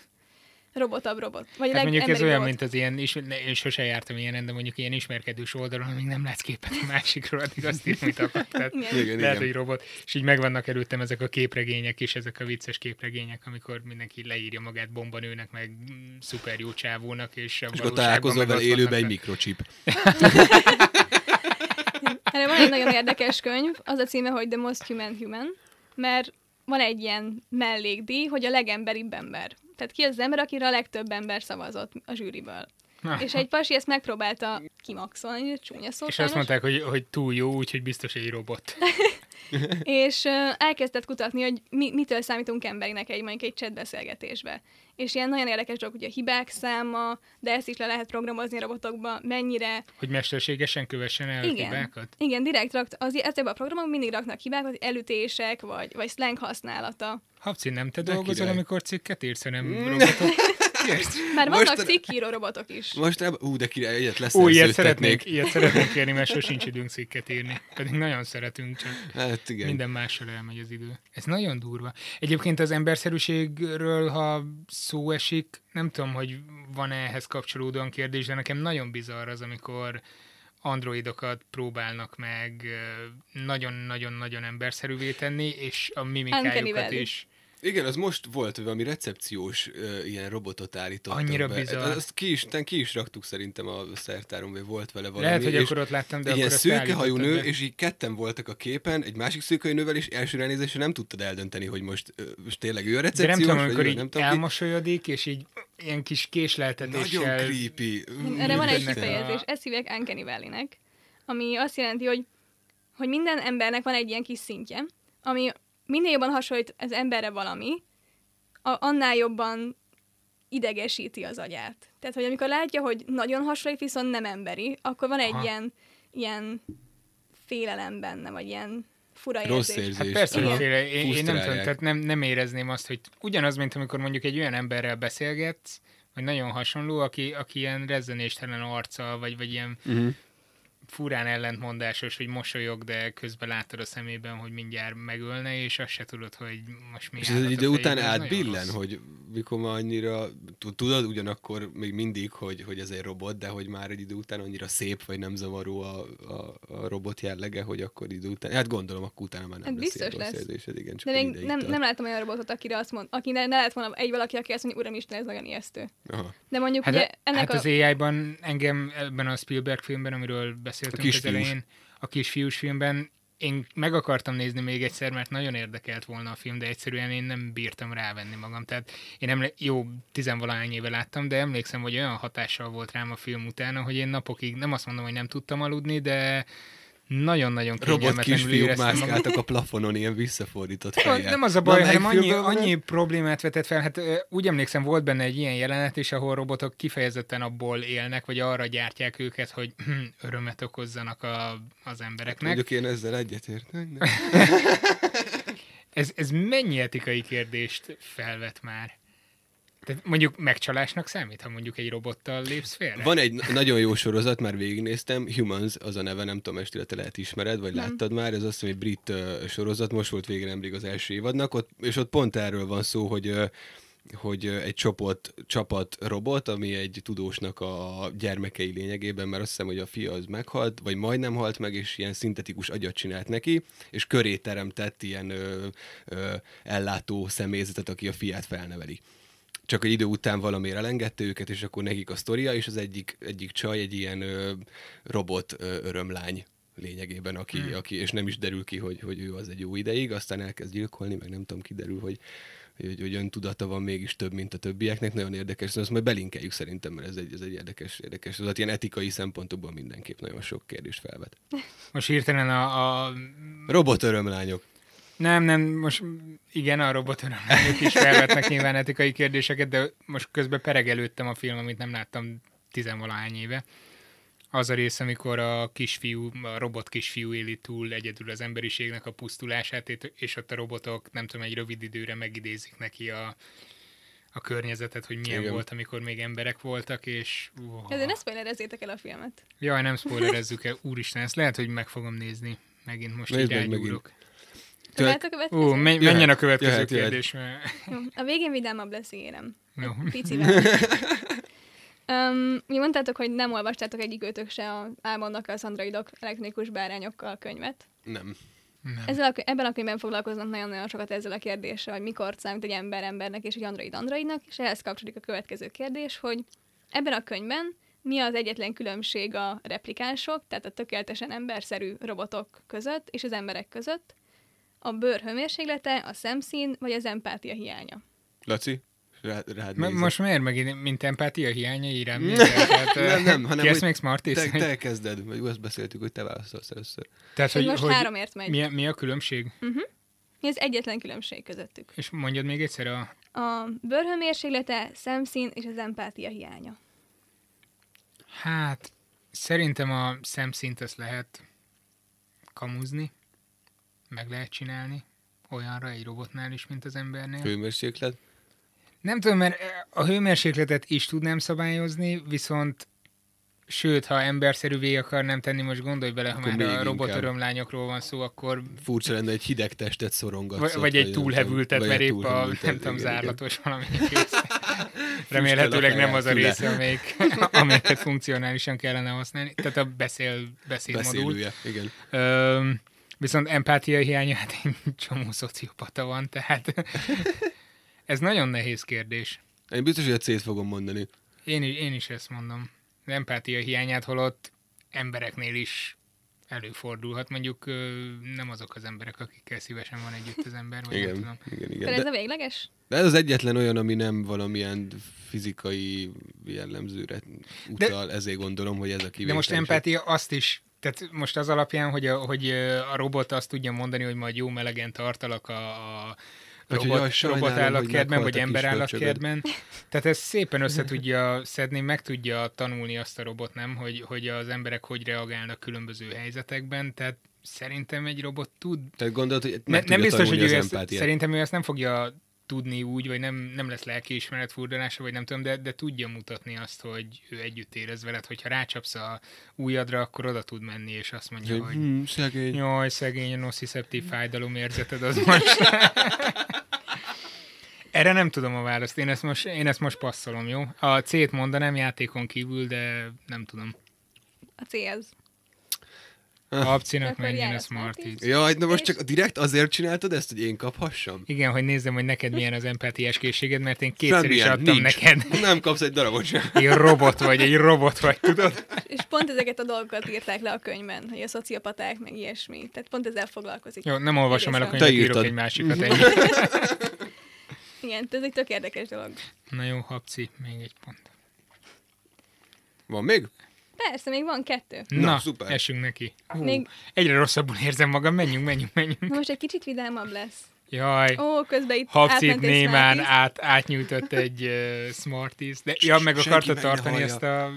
C: robotabb robot. Vagy
B: Hát
C: a leg
B: mondjuk ez
C: emberibb
B: olyan,
C: robot.
B: mint az ilyen, és ne- én sose jártam ilyenen, de mondjuk ilyen ismerkedős oldalon, amíg nem látsz képet a másikról, addig azt ír, mit akartál.
C: Igen.
A: Igen,
B: Lehet,
A: igen.
B: hogy robot. És így megvannak előttem ezek a képregények és ezek a vicces képregények, amikor mindenki leírja magát bombanőnek, meg mm, szuper jó csávónak, és, a
A: És akkor
B: valóságban
A: találkozol
B: meg
A: vele
B: ott vannak
A: élőben egy
B: a-
A: mikrocsip.
C: Erre van egy nagyon érdekes könyv, az a címe, hogy The Most Human Human, mert van egy ilyen mellékdíj, hogy a legemberibb ember. Tehát ki az az ember, akire a legtöbb ember szavazott a zsűriből.
B: Na.
C: És egy pasi ezt megpróbálta kimaxolni, egy csúnya szó
B: És azt
C: sajnos,
B: mondták, hogy, hogy túl jó, úgyhogy biztos egy robot.
C: és ö, elkezdett kutatni, hogy mi, mitől számítunk embernek egy mondjuk egy chat beszélgetésbe. És ilyen nagyon érdekes dolgok, hogy a hibák száma, de ezt is le lehet programozni a robotokba, mennyire
B: Hogy mesterségesen kövessen el
C: Igen.
B: hibákat.
C: Igen, direkt rakt, az, ezekben a programok mindig raknak hibákat, elütések, vagy, vagy slang használata.
B: Habci, nem te
A: De
B: dolgozol,
A: király.
B: amikor cikket írsz, hanem
A: Mm.
B: robotot írsz?
C: Már
A: Most
C: vannak
A: a-
C: cikkíró robotok is.
A: Most nem, ú, de király, egyet lesz.
B: Ó, ilyet szeretnék, ilyet szeretnék kérni, mert sosincs időnk cikket írni. Pedig nagyon szeretünk, csak
A: Hát igen.
B: Minden mással elmegy az idő. Ez nagyon durva. Egyébként az emberszerűségről, ha szó esik, nem tudom, hogy van-e ehhez kapcsolódóan kérdés, de nekem nagyon bizarr az, amikor androidokat próbálnak meg ö, nagyon-nagyon-nagyon emberszerűvé tenni, és a
C: Uncanny
B: mimikájukat
C: Valley.
B: is.
A: Igen, az most volt, hogy valami recepciós ö, ilyen robotot állítottak
B: Annyira
A: be.
B: bizarr.
A: Azt ki is, ten, ki is raktuk szerintem a szertáron, vagy volt vele valami.
B: Lehet, hogy
A: és
B: akkor ott láttam, de
A: egy ilyen
B: akkor azt
A: szőkehajú
B: állítottad
A: nő,
B: be.
A: és így ketten voltak a képen, egy másik szőkehajú nővel, és első ránézésre nem tudtad eldönteni, hogy most, ö, most tényleg ő a
B: De nem
A: recepciós,
B: tudom,
A: vagy
B: amikor
A: ő,
B: így
A: nem tudom, ki.
B: elmosolyodik, és így ilyen kis
A: Nagyon
B: késleltetéssel
A: creepy.
C: Erre van egy
B: Mindennek a-
C: kifejezés, ezt hívják Uncanny valley ami azt jelenti, hogy, hogy minden embernek van egy ilyen kis szintje, ami minél jobban hasonlít az emberre valami, a, annál jobban idegesíti az agyát. Tehát, hogy amikor látja, hogy nagyon hasonlít, viszont nem emberi, akkor van egy
B: Aha.
C: ilyen, ilyen félelem benne, vagy ilyen fura
A: Rossz
C: érzés.
A: érzés.
B: Hát persze,
C: Igen.
B: miféle, én, én nem tudom,
A: Frusztrálják.
B: tehát nem, nem érezném azt, hogy ugyanaz, mint amikor mondjuk egy olyan emberrel beszélgetsz, vagy nagyon hasonló, aki, aki ilyen rezzenéstelen arccal, vagy, vagy ilyen
A: Mhm.
B: furán ellentmondásos, hogy mosolyog, de közben látod a szemében, hogy mindjárt megölne, és azt se tudod, hogy most mi
A: És
B: állat
A: ez
B: a
A: egy idő
B: fejében.
A: után
B: Ez nagyon
A: átbillen,
B: rossz.
A: hogy mikor már annyira, tu- tudod ugyanakkor még mindig, hogy, hogy ez egy robot, de hogy már egy idő után annyira szép vagy nem zavaró a, a, a robot jellege, hogy akkor idő után, hát gondolom, akkor utána már nem
C: Hát
A: lesz
C: biztos
A: ilyen rossz
C: lesz.
A: érzésed, igen, csak
C: De
A: egy
C: még
A: ideig
C: nem,
A: tart.
C: nem láttam olyan robotot, akire azt mond, aki ne, ne lett volna egy valaki, aki azt mondja, uramisten, ez nagyon ijesztő.
A: Aha.
C: De mondjuk
B: Hát,
C: ugye ennek
B: hát
C: a...
B: az AI-ban engem ebben a Spielberg filmben, amiről beszéltünk
A: A
B: az
A: kisfiús.
B: elején, a kisfiús filmben, én meg akartam nézni még egyszer, mert nagyon érdekelt volna a film, de egyszerűen én nem bírtam rávenni magam. Tehát én emle- jó, tizenvalahány éve láttam, de emlékszem, hogy olyan hatással volt rám a film utána, hogy én napokig, nem azt mondom, hogy nem tudtam aludni, de nagyon-nagyon
A: Robot
B: kényelmetlenül
A: kisfiúk
B: éreztem magam.
A: mászkáltak a plafonon ilyen visszafordított
B: Nem,
A: fejjel.
B: nem az a baj,
A: Na,
B: hanem
A: melyik
B: annyi,
A: filmben van ez?
B: annyi problémát vetett fel. Hát ö, úgy emlékszem, volt benne egy ilyen jelenet is, ahol robotok kifejezetten abból élnek, vagy arra gyártják őket, hogy örömet okozzanak a, az embereknek.
A: Hát, Mondjuk én ezzel egyetértek. de-
B: Ez, ez mennyi etikai kérdést felvet már? Tehát mondjuk megcsalásnak számít, ha mondjuk egy robottal lépsz félre?
A: Van egy na- nagyon jó sorozat, már végignéztem, Humans az a neve, nem tudom, estére te lehet ismered, vagy láttad már, ez azt hiszem egy brit ö, sorozat, most volt végre nemrég az első évadnak, ott, és ott pont erről van szó, hogy ö, hogy ö, egy csoport, csapat robot, ami egy tudósnak a gyermekei lényegében, mert azt hiszem, hogy a fia az meghalt, vagy majdnem halt meg, és ilyen szintetikus agyat csinált neki, és köré teremtett ilyen ö, ö, ellátó személyzetet, aki a fiát felneveli csak egy idő után valamire elengedte őket, és akkor nekik a sztoria, és az egyik, egyik csaj egy ilyen ö, robot ö, örömlány lényegében, aki, hmm. aki, és nem is derül ki, hogy, hogy ő az egy jó ideig, aztán elkezd gyilkolni, meg nem tudom, kiderül, hogy hogy, hogy öntudata van mégis több, mint a többieknek. Nagyon érdekes, szóval ezt majd belinkeljük szerintem, mert ez egy, ez egy érdekes, érdekes. Az ilyen etikai szempontokból mindenképp nagyon sok kérdést felvet.
B: Most hirtelen a, a
A: Robot örömlányok.
B: Nem, nem, most igen, a robotörömlők is felvetnek nyilván etikai kérdéseket, de most közben peregelődtem a film, amit nem láttam tizenvalahány éve, az a rész, amikor a kisfiú, a robot kisfiú éli túl egyedül az emberiségnek a pusztulását, és ott a robotok, nem tudom, egy rövid időre megidézik neki a, a környezetet, hogy milyen
A: Igen.
B: Igen. volt, amikor még emberek voltak, és... Uha.
C: Ezért ne spoilerezzétek el a filmet.
B: Jaj, nem spoilerezzük el. Úristen, ezt lehet, hogy meg fogom nézni. Megint most
A: Nézd
B: így
A: meg megint.
B: rágyúrok.
C: Tudjátok a következő?
B: Ú, menj,
A: Jöhet,
B: menjen a következő
A: jöhet,
B: jöhet,
A: jöhet.
B: kérdés, mert...
C: Jó, A végén vidámabb lesz, ígérem.
B: Jó.
C: Picivel. Um, mi mondtátok, hogy nem olvastátok egyikőtök se a álmodnak az androidok elektronikus bárányokkal könyvet.
A: Nem.
B: Nem.
C: Ezzel a, kö- ebben a könyvben foglalkoznak nagyon-nagyon sokat ezzel a kérdéssel, hogy mikor számít egy ember embernek és egy android androidnak, és ehhez kapcsolódik a következő kérdés, hogy ebben a könyvben mi az egyetlen különbség a replikánsok, tehát a tökéletesen emberszerű robotok között és az emberek között, a bőr hőmérséklete, a szemszín vagy az empátia hiánya.
A: Laci? Rá, rád
B: M-
A: nézek.
B: most miért megint, mint empátia hiánya írám? Hát,
A: nem, nem, hanem
B: ki ezt
A: hogy
B: még smart
A: te,
B: te,
A: te kezded, vagy azt beszéltük, hogy te válaszolsz először.
B: Tehát,
C: Hogy
B: hogy,
C: most
B: Szóval, hogy
C: háromért megy.
B: mi, a- mi a különbség?
C: Mi az egyetlen különbség közöttük?
B: És mondjad még egyszer a...
C: A bőrhőmérséklete, szemszín és az empátia hiánya.
B: Hát, szerintem a szemszint ezt lehet kamuzni, meg lehet csinálni olyanra egy robotnál is, mint az embernél.
A: Hőmérséklet?
B: Nem tudom, mert eh, a hőmérsékletet is tudnám szabályozni, viszont sőt, ha emberszerűvé akarnám tenni, most gondolj bele, ha
A: Akkor
B: már
A: még
B: a robot
A: inkább.
B: örömlányokról van szó, akkor
A: Furcsa lenne egy hideg testet szorongatsz.
B: vagy,
A: ott,
B: vagy egy
A: nem
B: túlhevültet,
A: tudom,
B: mert
A: vagy egy
B: épp a,
A: túlhevültet,
B: nem tudom,
A: igen, igen.
B: zárlatos valami rész. Remélhetőleg nem az a
A: füle.
B: része, amelyik, amelyiket funkcionálisan kellene használni. Tehát a beszél, beszédmodul.
A: Beszélője, igen.
B: Öm, viszont empátia hiánya, hát egy csomó szociopata van, tehát ez nagyon nehéz kérdés.
A: Én biztos, hogy a C-t fogom mondani.
B: Én is, én is ezt mondom. Az empátia hiányát holott embereknél is előfordulhat. Mondjuk ö, nem azok az emberek, akikkel szívesen van együtt az ember, vagy nem
A: Igen,
B: tudom.
A: igen,
C: Akkor
A: igen.
C: ez
A: De,
C: a végleges?
A: de ez az egyetlen olyan, ami nem valamilyen fizikai jellemzőre utal, ezért gondolom, hogy ez a kivétel.
B: De most
A: És
B: empátia azt is, tehát most az alapján, hogy a, hogy ö, a robot azt tudja mondani, hogy majd jó melegen tartalak a, a
A: Vagy hogy
B: robot,
A: jaj, sajnálom,
B: robot
A: hogy
B: állatkertben,
A: meghalt
B: vagy
A: a
B: ember
A: kisfölcsögöd.
B: állatkertben. Tehát ez szépen össze tudja szedni, meg tudja tanulni azt a robot, nem, hogy, hogy az emberek hogy reagálnak különböző helyzetekben, tehát szerintem egy robot tud
A: Tehát gondolod, hogy
B: Ne,
A: meg
B: nem biztos, hogy
A: az
B: ő ezt,
A: empátiát.
B: szerintem ő ezt nem fogja tudni úgy, vagy nem, nem lesz lelkiismeret furdalása, vagy nem tudom, de, de tudja mutatni azt, hogy ő együtt érez veled, hogyha rácsapsz a ujjadra, akkor oda tud menni, és azt mondja,
A: Hogy,
B: hogy
A: hm, szegény.
B: jaj, szegény, a nociceptív fájdalom érzeted az most. Erre nem tudom a választ, én ezt most, én ezt most passzolom, jó? A C-t mondanám játékon kívül, de nem tudom.
C: A C ez.
A: Ah.
B: A Abcinak
C: Akkor
B: menjen
C: jár
B: a
C: a Smarties.
B: Smarties.
A: Jaj, hát na most
C: És-
A: csak direkt azért csináltad ezt, hogy én kaphassam?
B: Igen, hogy nézzem, hogy neked milyen az empátiás készséged, mert én kétszer is
A: Semmilyen,
B: adtam
A: nincs.
B: neked.
A: Nem kapsz egy darabot sem.
B: Egy robot vagy, egy robot vagy, tudod?
C: És pont ezeket a dolgokat írták le a könyvben, hogy a szociopaták, meg ilyesmi. Tehát pont ezzel foglalkozik.
B: Jó, nem olvasom el a
C: Egészen.
B: könyvet,
A: Te
B: írok
A: írtad.
B: egy másikat ennyi.
C: Igen, tehát ez egy tök érdekes dolog.
B: Na jó, Habci, még egy pont.
A: Van még?
C: Persze, még van kettő.
B: Na,
A: Na, szuper.
B: esünk neki. Hú,
C: Még-
B: Egyre rosszabbul érzem magam, menjünk, menjünk, menjünk.
C: Na most egy kicsit vidámabb lesz.
B: Jaj,
C: Ó, közben itt
B: Habcit
C: átmentél
B: némán
C: Smarties.
B: át, átnyújtott egy uh, Smarties, de ja, meg
A: Senki
B: akarta
A: meg ne
B: tartani
A: hallja.
B: ezt a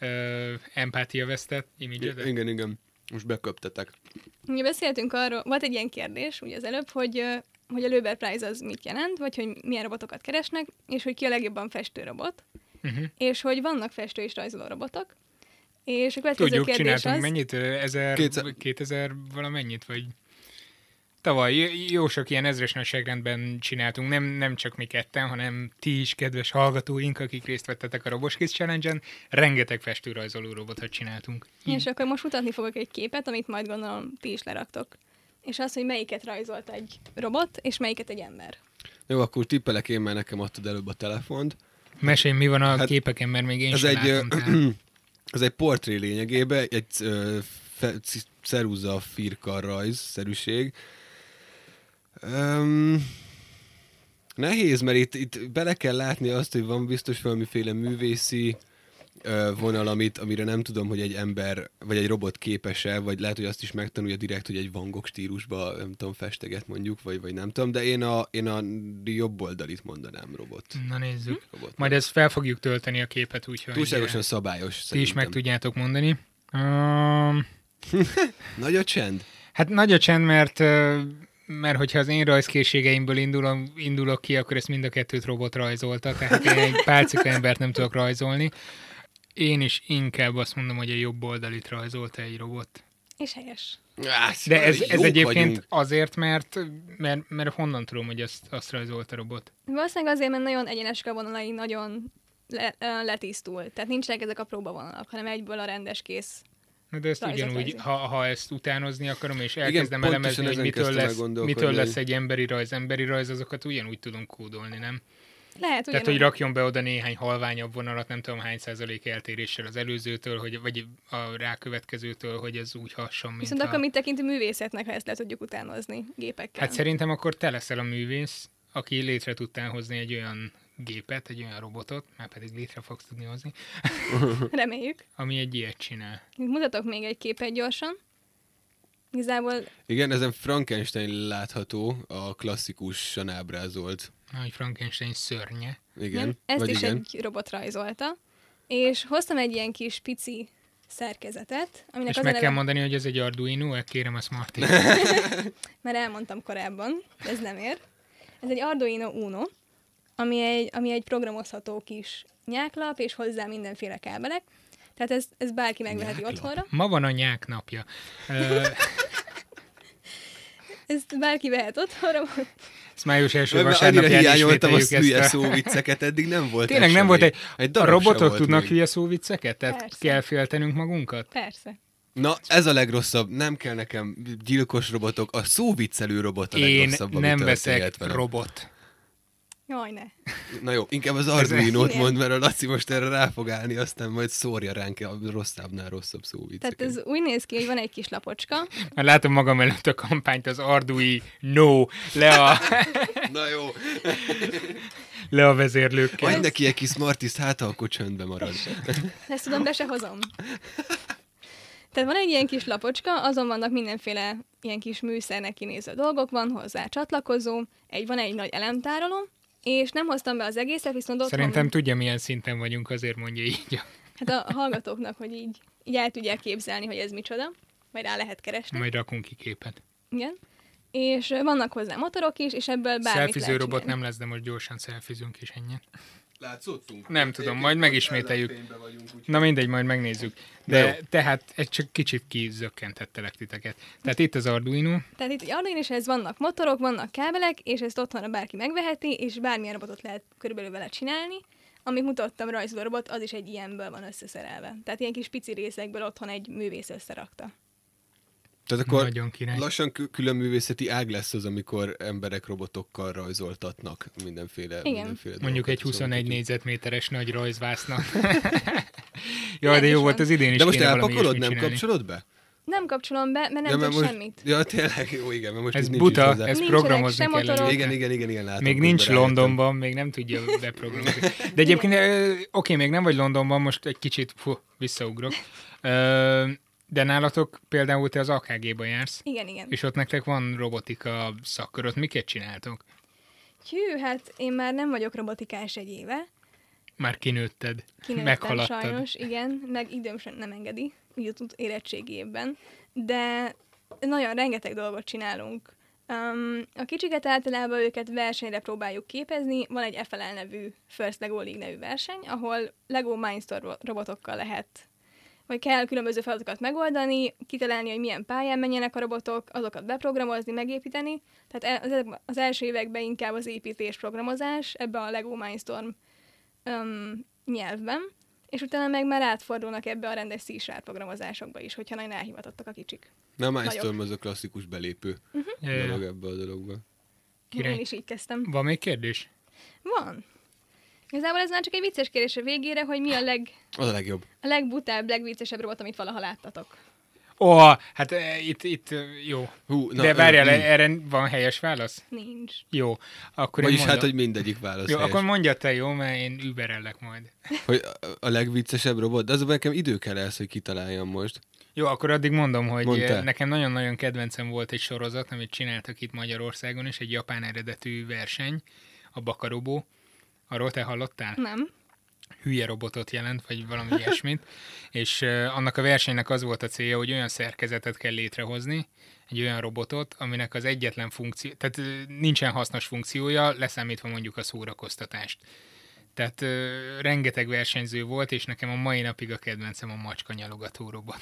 B: uh, empátia vesztett imidzsedet.
A: Igen, igen. Most beköptetek.
C: Ugye beszéltünk arról, volt egy ilyen kérdés, ugye az előbb, hogy, ö, hogy a Löber Prize az mit jelent, vagy hogy milyen robotokat keresnek, és hogy ki a legjobban festőrobot,
B: Uh-huh.
C: és hogy vannak festő és rajzoló robotok. És a következő
B: Tudjuk,
C: kérdés
B: csináltunk
C: az...
B: mennyit? Ö, Ezer,
A: Kétszer-
B: 2000 valamennyit, vagy tavaly j- jó sok ilyen ezres nagyságrendben csináltunk, nem, nem csak mi ketten, hanem ti is, kedves hallgatóink, akik részt vettetek a Roboskész Challenge-en, rengeteg festőrajzoló robotot csináltunk.
C: És akkor most mutatni fogok egy képet, amit majd gondolom ti is leraktok. És az, hogy melyiket rajzolt egy robot, és melyiket egy ember.
A: Jó, akkor tippelek én, mert nekem adtad előbb a telefont.
B: Mesélj, mi van a
A: Hát
B: képeken, mert még én
A: ez
B: sem
A: egy,
B: látom.
A: ö,
B: tehát.
A: Ez egy portré lényegében, egy ö, fe, c- ceruza firka rajz szerűség. Öm, nehéz, mert itt, itt bele kell látni azt, hogy van biztos valamiféle művészi ö, vonal, amit, amire nem tudom, hogy egy ember, vagy egy robot képes-e, vagy lehet, hogy azt is megtanulja direkt, hogy egy vangok stílusba, nem tudom, festeget mondjuk, vagy, vagy nem tudom, de én a, én a jobb oldalit mondanám robot.
B: Na nézzük.
A: robot.
B: Majd ezt fel fogjuk tölteni a képet, úgyhogy
A: Túlságosan
B: eh,
A: szabályos
B: ti is
A: szerintem.
B: meg tudjátok mondani. Um,
A: Nagy a csend?
B: Hát nagy a csend, mert, ö, mert hogyha az én rajzkészségeimből indulom, indulok ki, akkor ezt mind a kettőt robot rajzolta, tehát én egy pálcika embert nem tudok rajzolni. Én is inkább azt mondom, hogy a jobb oldalit rajzolta egy robot.
C: És helyes.
A: Á,
B: De ez, ez
A: Szóval jók
B: egyébként
A: vagyunk.
B: vagyunk. azért, mert, mert, mert honnan tudom, hogy azt, azt rajzolt a robot?
C: Valószínűleg azért, mert nagyon egyenesek a vonalai, nagyon le, ö, letisztul. Tehát nincsenek ezek a próbavonalak, hanem egyből a rendes kész.
B: Na de ezt
C: Rajzolt
B: ugyanúgy,
C: rajzol.
B: ha, ha ezt utánozni akarom, és elkezdem
A: pontosan
B: elemezni, hogy
A: ezen
B: mitől
A: kezdtem el
B: lesz,
A: gondolkodni,
B: mitől lesz
A: hogy-
B: egy emberi rajz, emberi rajz, azokat ugyanúgy tudom kódolni, nem?
C: Lehet,
B: Tehát,
C: ugyanúgy.
B: hogy rakjon be oda néhány halványabb vonalat, nem tudom hány százalék eltéréssel az előzőtől, hogy, vagy a rákövetkezőtől, hogy ez úgy hasson, mint
C: Viszont
B: a...
C: akkor mit tekintünk művészetnek, ha ezt le tudjuk utánozni gépekkel?
B: Hát szerintem akkor te leszel a művész, aki létre tudtál hozni egy olyan gépet, egy olyan robotot, már pedig létre fogsz tudni hozni,
C: Reméljük.
B: ami egy ilyet csinál.
C: Mutatok még egy képet gyorsan. Igazából
A: Igen, ezen Frankenstein látható, a klasszikusan ábrázolt.
B: Nagy Frankenstein szörnye.
A: Igen,
C: nem, ezt
A: vagy
C: is
A: igen.
C: egy robot rajzolta. És hoztam egy ilyen kis pici szerkezetet, aminek
B: És
C: az a
B: meg
C: neve,
B: kell mondani, hogy ez egy Arduino, e kérem ezt Martin.
C: mert elmondtam korábban, de ez nem ér. Ez egy Arduino Uno, ami egy, ami egy programozható kis nyáklap, és hozzá mindenféle kábelek. Tehát ez, ez bárki megveheti
A: Nyáklap?
C: otthonra.
B: Ma van a nyák napja. Ö,
C: Ezt bárki vehet otthonra,
B: Ezt május első
A: Mert Annyira
B: vasárnapján
A: hiányoltam a
B: ismételjük ezt
A: hülye
B: a...
A: szóvicceket, eddig nem volt
B: Tényleg
A: ez
B: nem
A: sem
B: volt
A: még.
B: egy... a
A: darab sem
B: robotok
A: volt
B: tudnak
A: még.
B: hülye szóvicceket? Tehát
C: Persze.
B: kell féltenünk magunkat?
C: persze.
A: Na, ez a legrosszabb. Nem kell nekem gyilkos robotok. A szóviccelő robot a
B: Én
A: legrosszabb, ami
B: nem
A: történhet
B: veszek
A: velem.
B: robot.
C: Jaj, ne.
A: Na jó, inkább az Arduino-t
C: Igen.
A: mond, mert a Laci most erre rá fog állni, aztán majd szórja ránk a rosszabbnál rosszabb szóvicceket.
C: Tehát ez úgy néz ki, hogy van egy kis lapocska,
B: Már látom magam előtt a kampányt, az Ardui no le a,
A: Na jó,
B: le a vezérlőkkel.
A: majd neki egy kis Smartist, hát akkor csöndbe marad.
C: Ezt tudom, de se hozom. Tehát van egy ilyen kis lapocska, azon vannak mindenféle ilyen kis műszernek kinéző dolgok, van hozzá csatlakozó, egy, van egy nagy elemtároló, és nem hoztam be az egészet, viszont ott
B: Szerintem tudja, milyen szinten vagyunk, azért mondja így.
C: hát a hallgatóknak, hogy így, így el tudják képzelni, hogy ez micsoda, majd rá lehet keresni.
B: Majd rakunk ki képet.
C: Igen. És ö, vannak hozzá motorok is, és ebből bármit
B: Szelfiző
C: lehet
B: robot
C: csinálni.
B: nem lesz, de most gyorsan szelfizünk is ennyi.
A: Látszottunk?
B: Nem tudom, majd megismételjük.
A: Vagyunk,
B: Na mindegy, majd megnézzük. De
A: Na jó.
B: tehát egy csak kicsit kizökkentettelek titeket. Tehát itt az Arduino,
C: Tehát itt egy Arduino is ez vannak motorok, vannak kábelek, és ezt otthonra bárki megveheti, és bármilyen robotot lehet körülbelül vele csinálni. Amit mutattam rajzoló robot, az is egy ilyenből van összeszerelve. Tehát ilyen kis pici részekből otthon egy művész összerakta.
A: Tehát akkor
B: Nagyon király.
A: lassan kü- külön művészeti ág lesz az, amikor emberek robotokkal rajzoltatnak mindenféle,
C: Igen.
A: mindenféle
B: mondjuk
A: dolgokat.
B: egy
A: Szóval
B: 21
A: tudjuk.
B: négyzetméteres nagy rajzvásznak. Jaj,
C: Nem
B: de
C: is
B: jó
C: van.
B: volt az idén is.
A: De most
B: kéne valami
A: elpakolod,
B: ilyesmit
A: nem
B: csinálni.
A: kapcsolod be?
C: Nem kapcsolom be, mert nem
A: mert
C: tudok
A: most,
C: semmit.
A: Ja, tényleg, jó, igen, mert most
B: Ez
A: itt nincs
B: buta,
A: is hozzá.
B: ezt
C: Nincsenek
B: programozni
C: sem
B: kell.
C: motorok.
B: előtte.
A: Igen, igen, igen, igen, látom.
B: Még
A: közben
B: nincs
A: rájöttem.
B: Londonban, még nem tudja beprogramozni. De egyébként, ö, oké, még nem vagy Londonban, most egy kicsit fú, visszaugrok. Ö, De nálatok például te az AKG-ba jársz,
C: Igen, igen.
B: és ott nektek van robotika szakkör, ott miket csináltok?
C: Hű, hát én már nem vagyok robotikás egy éve.
B: Már kinőtted,
C: Kinőttem
B: meghaladtad.
C: sajnos, igen, meg időm sem nem engedi, így ott érettségi évben. De nagyon rengeteg dolgot csinálunk. Um, a kicsiket általában őket versenyre próbáljuk képezni. Van egy FLL nevű First Lego League nevű verseny, ahol Lego Mindstorm robotokkal lehet vagy kell különböző feladatokat megoldani, kitalálni, hogy milyen pályán menjenek a robotok, azokat beprogramozni, megépíteni. Tehát el- az- e- az első években inkább az építés programozás, ebbe a Lego Mindstorm öm, nyelvben, és utána meg már átfordulnak ebbe a rendes c programozásokba is, hogyha nagyon elhivatottak a kicsik.
A: Na, Mindstorm
C: Vagyok.
A: az a klasszikus belépő
B: Ö,
A: dolog ebbe a dologba.
B: Király.
C: Én is így kezdtem.
B: Van még kérdés?
C: Van. Igazából ez már csak egy vicces kérdés a végére, hogy mi a, leg,
A: Az a legjobb.
C: a legbutább, legviccesebb robot, amit valaha láttatok.
B: Ó, oh, hát e, itt, itt e, jó.
A: Hú, na,
B: De várjál,
A: ö,
B: e,
A: mm.
B: erre van helyes válasz?
C: Nincs.
B: Jó. Akkor én
A: Vagyis
B: mondom.
A: hát, hogy mindegyik válasz
B: jó,
A: helyes.
B: akkor mondja te, jó, mert én überellek majd.
A: Hogy a- a legviccesebb robot, de azonban nekem idő kell ehhez, hogy kitaláljam most.
B: Jó, akkor addig mondom, hogy
A: Mondd
B: Mondta.
A: el.
B: nekem nagyon-nagyon kedvencem volt egy sorozat, amit csináltak itt Magyarországon is, egy japán eredetű verseny, a Bakarobó. Arról te hallottál?
C: Nem.
B: hülye robotot jelent, vagy valami ilyesmit, és ö, annak a versenynek az volt a célja, hogy olyan szerkezetet kell létrehozni, egy olyan robotot, aminek az egyetlen funkció, tehát ö, nincsen hasznos funkciója, leszámítva mondjuk a szórakoztatást. Tehát ö, rengeteg versenyző volt, és nekem a mai napig a kedvencem a macska nyalogató robot.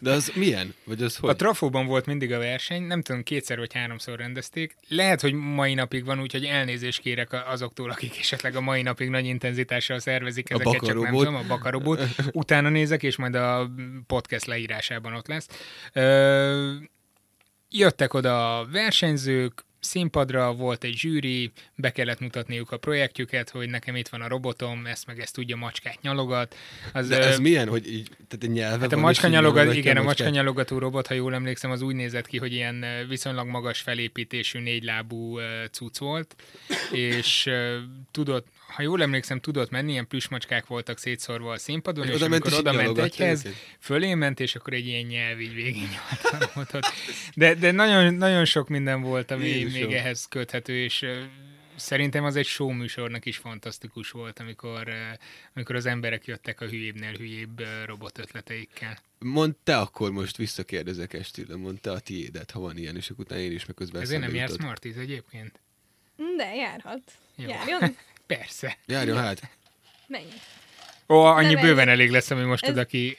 A: De az milyen? Vagy az hogy?
B: A trafóban volt mindig a verseny, nem tudom, kétszer vagy háromszor rendezték. Lehet, hogy mai napig van, úgyhogy elnézést kérek a- azoktól, akik esetleg a mai napig nagy intenzitással szervezik
A: A
B: ezeket, csak nem
A: bakarobót.
B: tudom, a bakarobót. Utána nézek, és majd a podcast leírásában ott lesz. Ö, jöttek oda a versenyzők, színpadra volt egy zsűri, be kellett mutatniuk a projektjüket, hogy nekem itt van a robotom, ezt meg ezt tudja, macskát nyalogat. Az,
A: de ez
B: ö,
A: milyen, hogy így, tehát egy nyelve
B: Hát a
A: van, és
B: macska
A: így
B: nyalogat,
A: nyalogatja
B: igen, a macska
A: macskát?
B: nyalogató robot, ha jól emlékszem, az úgy nézett ki, hogy ilyen ö, viszonylag magas felépítésű négylábú ö, cucc volt, és ö, tudott, ha jól emlékszem, tudott menni, ilyen plüsmacskák voltak szétszorva a színpadon,
A: Hogy
B: és
A: odament
B: amikor
A: és így
B: oda ment
A: nyalogatta
B: egyhez,
A: őket?
B: fölé ment, és akkor egy ilyen nyelv így végén nyomta a robotot. De, de nagyon, nagyon sok minden volt, ami
A: Jézusom.
B: még ehhez köthető, és ö, Szerintem az egy show műsornak is fantasztikus volt, amikor, ö, amikor az emberek jöttek a hülyébbnél hülyébb ö, robot ötleteikkel.
A: Mondd te akkor most, visszakérdezek estére, mondd te a tiédet, ha van ilyen, és akkor utána én is meg közben
B: Ezért nem
A: eszembe
B: jársz
A: jutott.
B: Martiz egyébként?
C: De járhat.
B: Jó.
C: Járjon?
B: Persze.
A: Járjon hát.
C: Menj.
B: Ó, annyi
C: várj.
B: bőven elég lesz, ami most
C: Ez-
B: oda ki...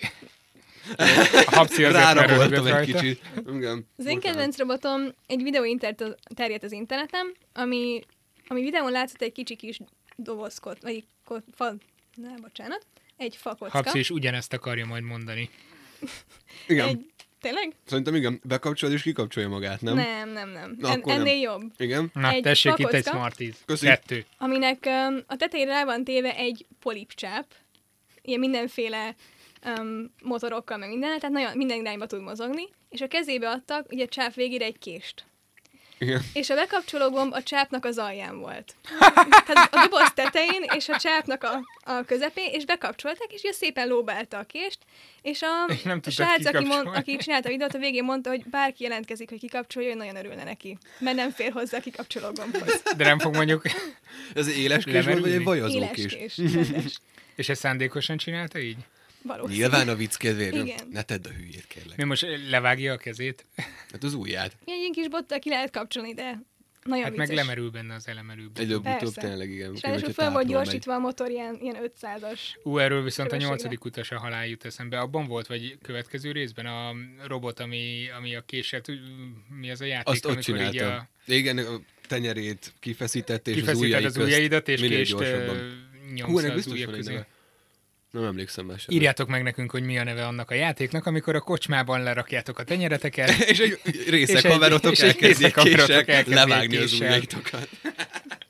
B: A habci azért már
A: Ráraboltam
B: röhögött
A: egy
B: rajta.
A: kicsit. Igen.
C: Az én kedvenc robotom egy videó internet terjedt az interneten, ami, ami videón látszott egy kicsi kis dobozkot, vagy kot, fa, ne, bocsánat, egy fakocka.
B: Habci is ugyanezt akarja majd mondani.
A: Igen.
C: Egy, tényleg?
A: Szerintem igen, bekapcsolod és kikapcsolja magát, nem?
C: Nem, nem, nem.
A: Na,
C: En,
A: akkor nem.
C: ennél jobb.
A: Igen.
B: Na,
C: Egy
B: tessék, itt egy
C: fakocka.
B: Smarties.
A: Köszi.
B: Kettő.
C: Aminek um, a tetejére rá van téve egy polipcsáp, ilyen mindenféle um, motorokkal, meg minden, tehát nagyon, minden irányba tud mozogni, és a kezébe adtak ugye a csáp végére egy kést.
A: igen.
C: És a bekapcsoló gomb a csápnak az alján volt. Tehát a doboz tetején és a csápnak a, a közepén, és bekapcsolták, és ugye szépen lóbálta a kést, és a,
B: És nem
C: a
B: tudták
C: srác, aki, mond,
B: kikapcsolni.
C: aki csinálta a videót, a végén mondta, hogy bárki jelentkezik, hogy kikapcsolja, ő nagyon örülne neki, mert nem fér hozzá a kikapcsoló gombhoz.
B: De nem fog mondjuk...
A: Ez egy éles kés
B: Lemerülni?
A: volt, vagy egy vajazó
C: Éles
A: kés?
C: kés. rendes,
B: És ezt szándékosan csinálta így?
C: Valószínű.
A: Nyilván a vicc kedvéért.
C: Igen.
A: Ne tedd a hülyét, kérlek.
B: Mi most eh, levágja a kezét?
A: Hát az ujját.
C: Ilyen ilyen kis bottal ki lehet kapcsolni, de nagyon
B: Hát
C: vicces.
B: meg lemerül benne az elemelőben.
A: Előbb-utóbb
C: Persze.
A: tényleg igen.
C: És
A: Főleg,
C: ráadásul
A: hogyha
C: föl volt
A: távolról megy.
C: gyorsítva a motor ilyen, ilyen 500-as.
B: Ú, erről viszont a
C: Különbségre.
B: nyolcadik utas a halál jut eszembe. Abban volt, vagy következő részben a robot, ami, ami a késsel, tud- mi az a játék,
A: Azt ott
B: amikor így a,
A: csináltam. Igen, a tenyerét kifeszített, és az
B: kifeszíted
A: ujjai
B: az
A: közt
B: ujjaidat, és
A: minél
B: kést
A: gyorsabban.
B: ö,
A: Hú,
B: nyomsz
A: ennek
B: az
A: biztos
B: ujjak
A: van egy
B: közé.
A: neve. Nem emlékszem már sem.
B: Írjátok meg nekünk, hogy mi a neve annak a játéknak, amikor a kocsmában lerakjátok a tenyereteket,
A: És egy
B: És
A: részek
B: egy-
A: haverotok
B: és egy
A: elkezdik
B: részekhaverotok
A: késsel
B: elkezdik
A: levágni az
B: késsel.
A: ujjaitokat.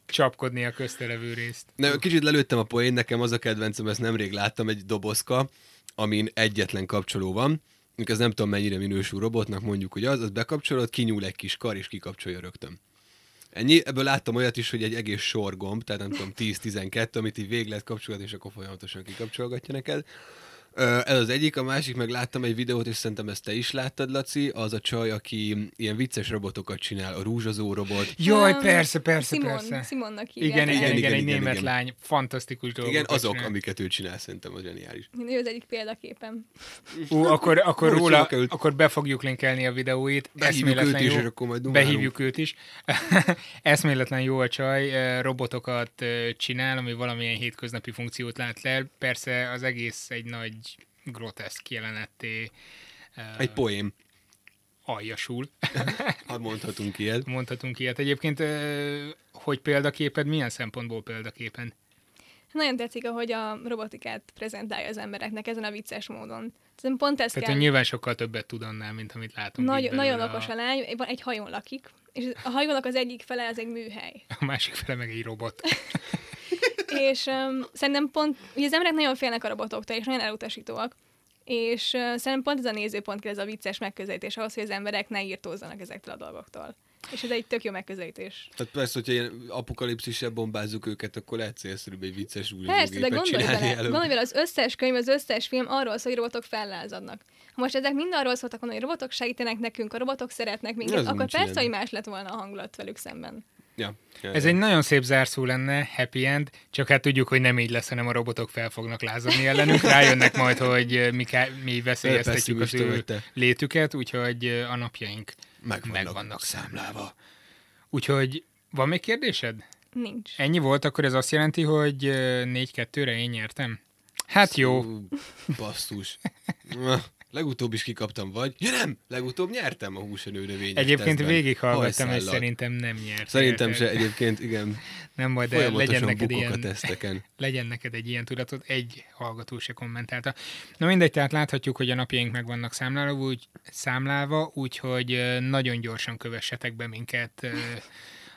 B: csapkodni a köztelevő részt.
A: Na, kicsit lelőttem a poén, nekem az a kedvencem, ezt nemrég láttam, egy dobozka, amin egyetlen kapcsoló van, Mondjuk ez nem tudom mennyire minősül robotnak, mondjuk, hogy az, az bekapcsolod, kinyúl egy kis kar, és kikapcsolja rögtön. Ennyi, ebből láttam olyat is, hogy egy egész sor gomb, tehát nem tudom, 10-12, amit így végig lehet kapcsolgatni, és akkor folyamatosan kikapcsolgatja neked. Ö, Ez az egyik, a másik, meg láttam egy videót, és szerintem ezt te is láttad, Laci, az a csaj, aki ilyen vicces robotokat csinál, a rúzsazó robot.
B: Jaj,
C: Um,
B: persze, persze,
C: Simon,
B: persze.
C: Simonnak hívják.
B: Igen, igen,
A: Igen,
B: igen, igen,
A: igen,
B: egy
A: igen,
B: német
A: igen.
B: lány, fantasztikus dolgok.
A: Igen, azok, amiket ő csinál, szerintem az zseniális.
C: Ő az egyik példaképem.
B: Ú, akkor, akkor
A: Úgy
B: róla,
A: sokba került.
B: akkor be fogjuk linkelni a videóit.
A: Behívjuk
B: Eszméletlen
A: őt is,
B: jó.
A: és akkor majd dumálunk.
B: Behívjuk őt is. Eszméletlen jó a csaj, eh, robotokat eh, csinál, ami valamilyen hétköznapi funkciót lát le. Persze az egész egy nagy groteszk jelenetté eh,
A: Egy poém.
B: aljasul.
A: Ha mondhatunk ilyet.
B: Mondhatunk ilyet. Egyébként, eh, hogy példaképed, milyen szempontból példaképen?
C: Nagyon tetszik, ahogy a robotikát prezentálja az embereknek ezen a vicces módon. Szerintem pont ez
B: Tehát, hogy
C: kell.
B: nyilván sokkal többet tud annál, mint amit látunk. így
C: Nagy, nagyon
B: belőle
C: okos a lány, van- egy hajón lakik, és a hajónak az egyik fele az egy műhely.
B: A másik fele meg egy robot.
C: És um, szerintem pont, ugye az emberek nagyon félnek a robotoktól, és nagyon elutasítóak. és ö, szerintem pont ez a nézőpont kell, ez a vicces megközelítés ahhoz, hogy az emberek ne írtózzanak ezektől a dolgoktól. És ez egy tök jó megközelítés.
A: Tehát Hát persze, hogyha ilyen apokalipszissel bombázzuk őket, akkor lehet célszerűbb egy vicces új
C: Persze, de gondolj bele, gondolj bele, az összes könyv, az összes film arról szól, hogy robotok fellázadnak. Ha most ezek mind arról szóltak volna, hogy robotok segítenek nekünk, a robotok szeretnek minket,
A: Az
C: akkor
A: nincs
C: persze,
A: ilyen.
C: hogy más lett volna a hangulat velük szemben.
A: Ja, ja,
B: Ez
A: ja.
B: egy nagyon szép zárszó lenne, happy end, csak hát tudjuk, hogy nem így lesz, hanem a robotok fel fognak lázadni ellenünk, rájönnek majd, hogy ö, mi, ká- mi veszélyeztetjük az
A: Pessimista
B: ő
A: vagy te.
B: létüket, úgyhogy ö, a napjaink
A: meg vannak,
B: meg vannak
A: számlálva.
B: Úgyhogy van még kérdésed?
C: Nincs.
B: Ennyi volt, akkor ez azt jelenti, hogy ö, 4-2-re én nyertem? Hát jó,
A: Ú, Basszus. Na, Legutóbb is kikaptam, vagy? Ja nem, legutóbb nyertem a húsenő növényes
B: egyébként
A: tesztben.
B: végighallgattam, és
A: Hajszállal.
B: szerintem nem nyert.
A: Szerintem se
B: Érted?
A: egyébként, igen.
B: Nem baj, de legyen
A: Folyamatosan
B: neked
A: bukok a
B: ilyen,
A: teszteken.
B: legyen neked egy ilyen tudatod, egy hallgató se kommentálta. Na mindegy, tehát láthatjuk, hogy a napjaink meg vannak számlálva, úgy, számlálva, úgyhogy ö, nagyon gyorsan kövessetek be minket ö,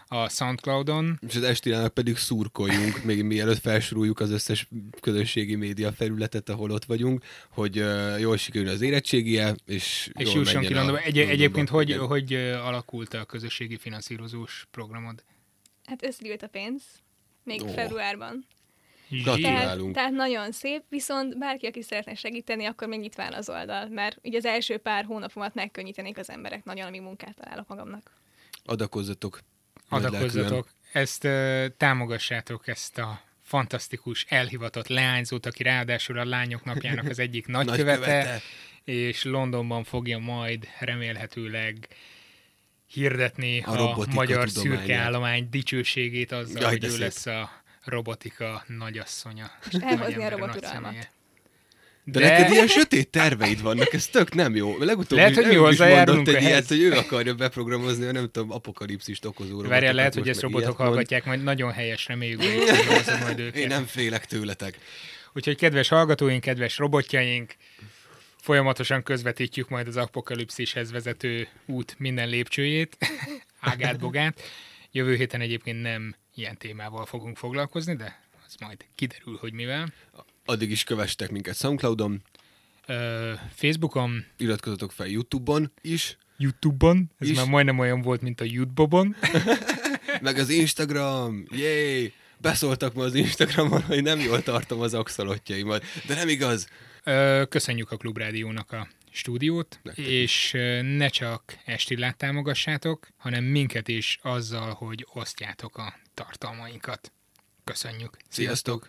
B: a Soundcloudon.
A: És az estilának pedig szurkoljunk, még mielőtt felsoroljuk az összes közösségi média felületet, ahol ott vagyunk, hogy uh, jól sikerül az érettségie, és,
B: És
A: jól
B: jusson ki
A: menjen a
B: Londonba. Egy,
A: Londonba.
B: egyébként hogy,
A: Igen.
B: hogy ö, alakult a közösségi finanszírozós programod?
C: Hát összegyűlt a pénz, még
A: Ó.
C: oh. februárban.
A: Gratulál.
C: Tehát,
A: Gratulálunk.
C: tehát nagyon szép, viszont bárki, aki szeretne segíteni, akkor még nyitva áll az oldal, mert ugye az első pár hónapomat megkönnyítenék az emberek nagyon, amíg munkát találok magamnak.
A: Adakozzatok. Nagy lelkűen.
B: adakozzatok, ezt ö, támogassátok ezt a fantasztikus, elhivatott leányzót, aki ráadásul a lányok napjának az egyik nagykövete,
A: Nagykövete.
B: és Londonban fogja majd remélhetőleg hirdetni
A: A
B: a,
A: robotika
B: magyar
A: tudományát.
B: szürke állomány dicsőségét azzal,
A: Jaj,
B: hogy
A: de
B: ő
A: szép.
B: lesz a robotika nagyasszonya.
C: elhozni a
B: Nagyember,
C: robot
B: nagy
C: uralmat.
B: személye.
A: De, de neked ilyen sötét terveid vannak, ez tök nem jó. Legutóbb
B: Lehet,
A: is-
B: hogy mi
A: ő is
B: hozzájárulunk
A: mondott egy
B: ehhez.
A: ilyet, hogy ő akarja beprogramozni, a nem tudom, apokalipszist okozó robotokat.
B: Várjál, lehet, hogy
A: most
B: ezt
A: meg
B: robotok
A: ilyet mond.
B: hallgatják, majd nagyon helyes, reméljük, hogy hozod majd
A: Én
B: őket.
A: nem félek tőletek.
B: Úgyhogy kedves hallgatóink, kedves robotjaink, folyamatosan közvetítjük majd az apokalipszishez vezető út minden lépcsőjét, ágát, bogát. Jövő héten egyébként nem ilyen témával fogunk foglalkozni, de az majd kiderül, hogy mivel.
A: Addig is kövestek minket Soundcloudon,
B: Ö, Facebookon,
A: iratkozzatok fel YouTube-on is,
B: YouTube-on, ez
A: Is.
B: már majdnem olyan volt, mint a YouTube-on.
A: meg az Instagram, jéj! Beszóltak ma az Instagramon, hogy nem jól tartom az axolotjaimat. De nem igaz.
B: Ö, Köszönjük a Klubrádiónak a stúdiót, Nektek. és ö, ne csak Estillát támogassátok, hanem minket is azzal, hogy osztjátok a tartalmainkat. Köszönjük!
A: Sziasztok!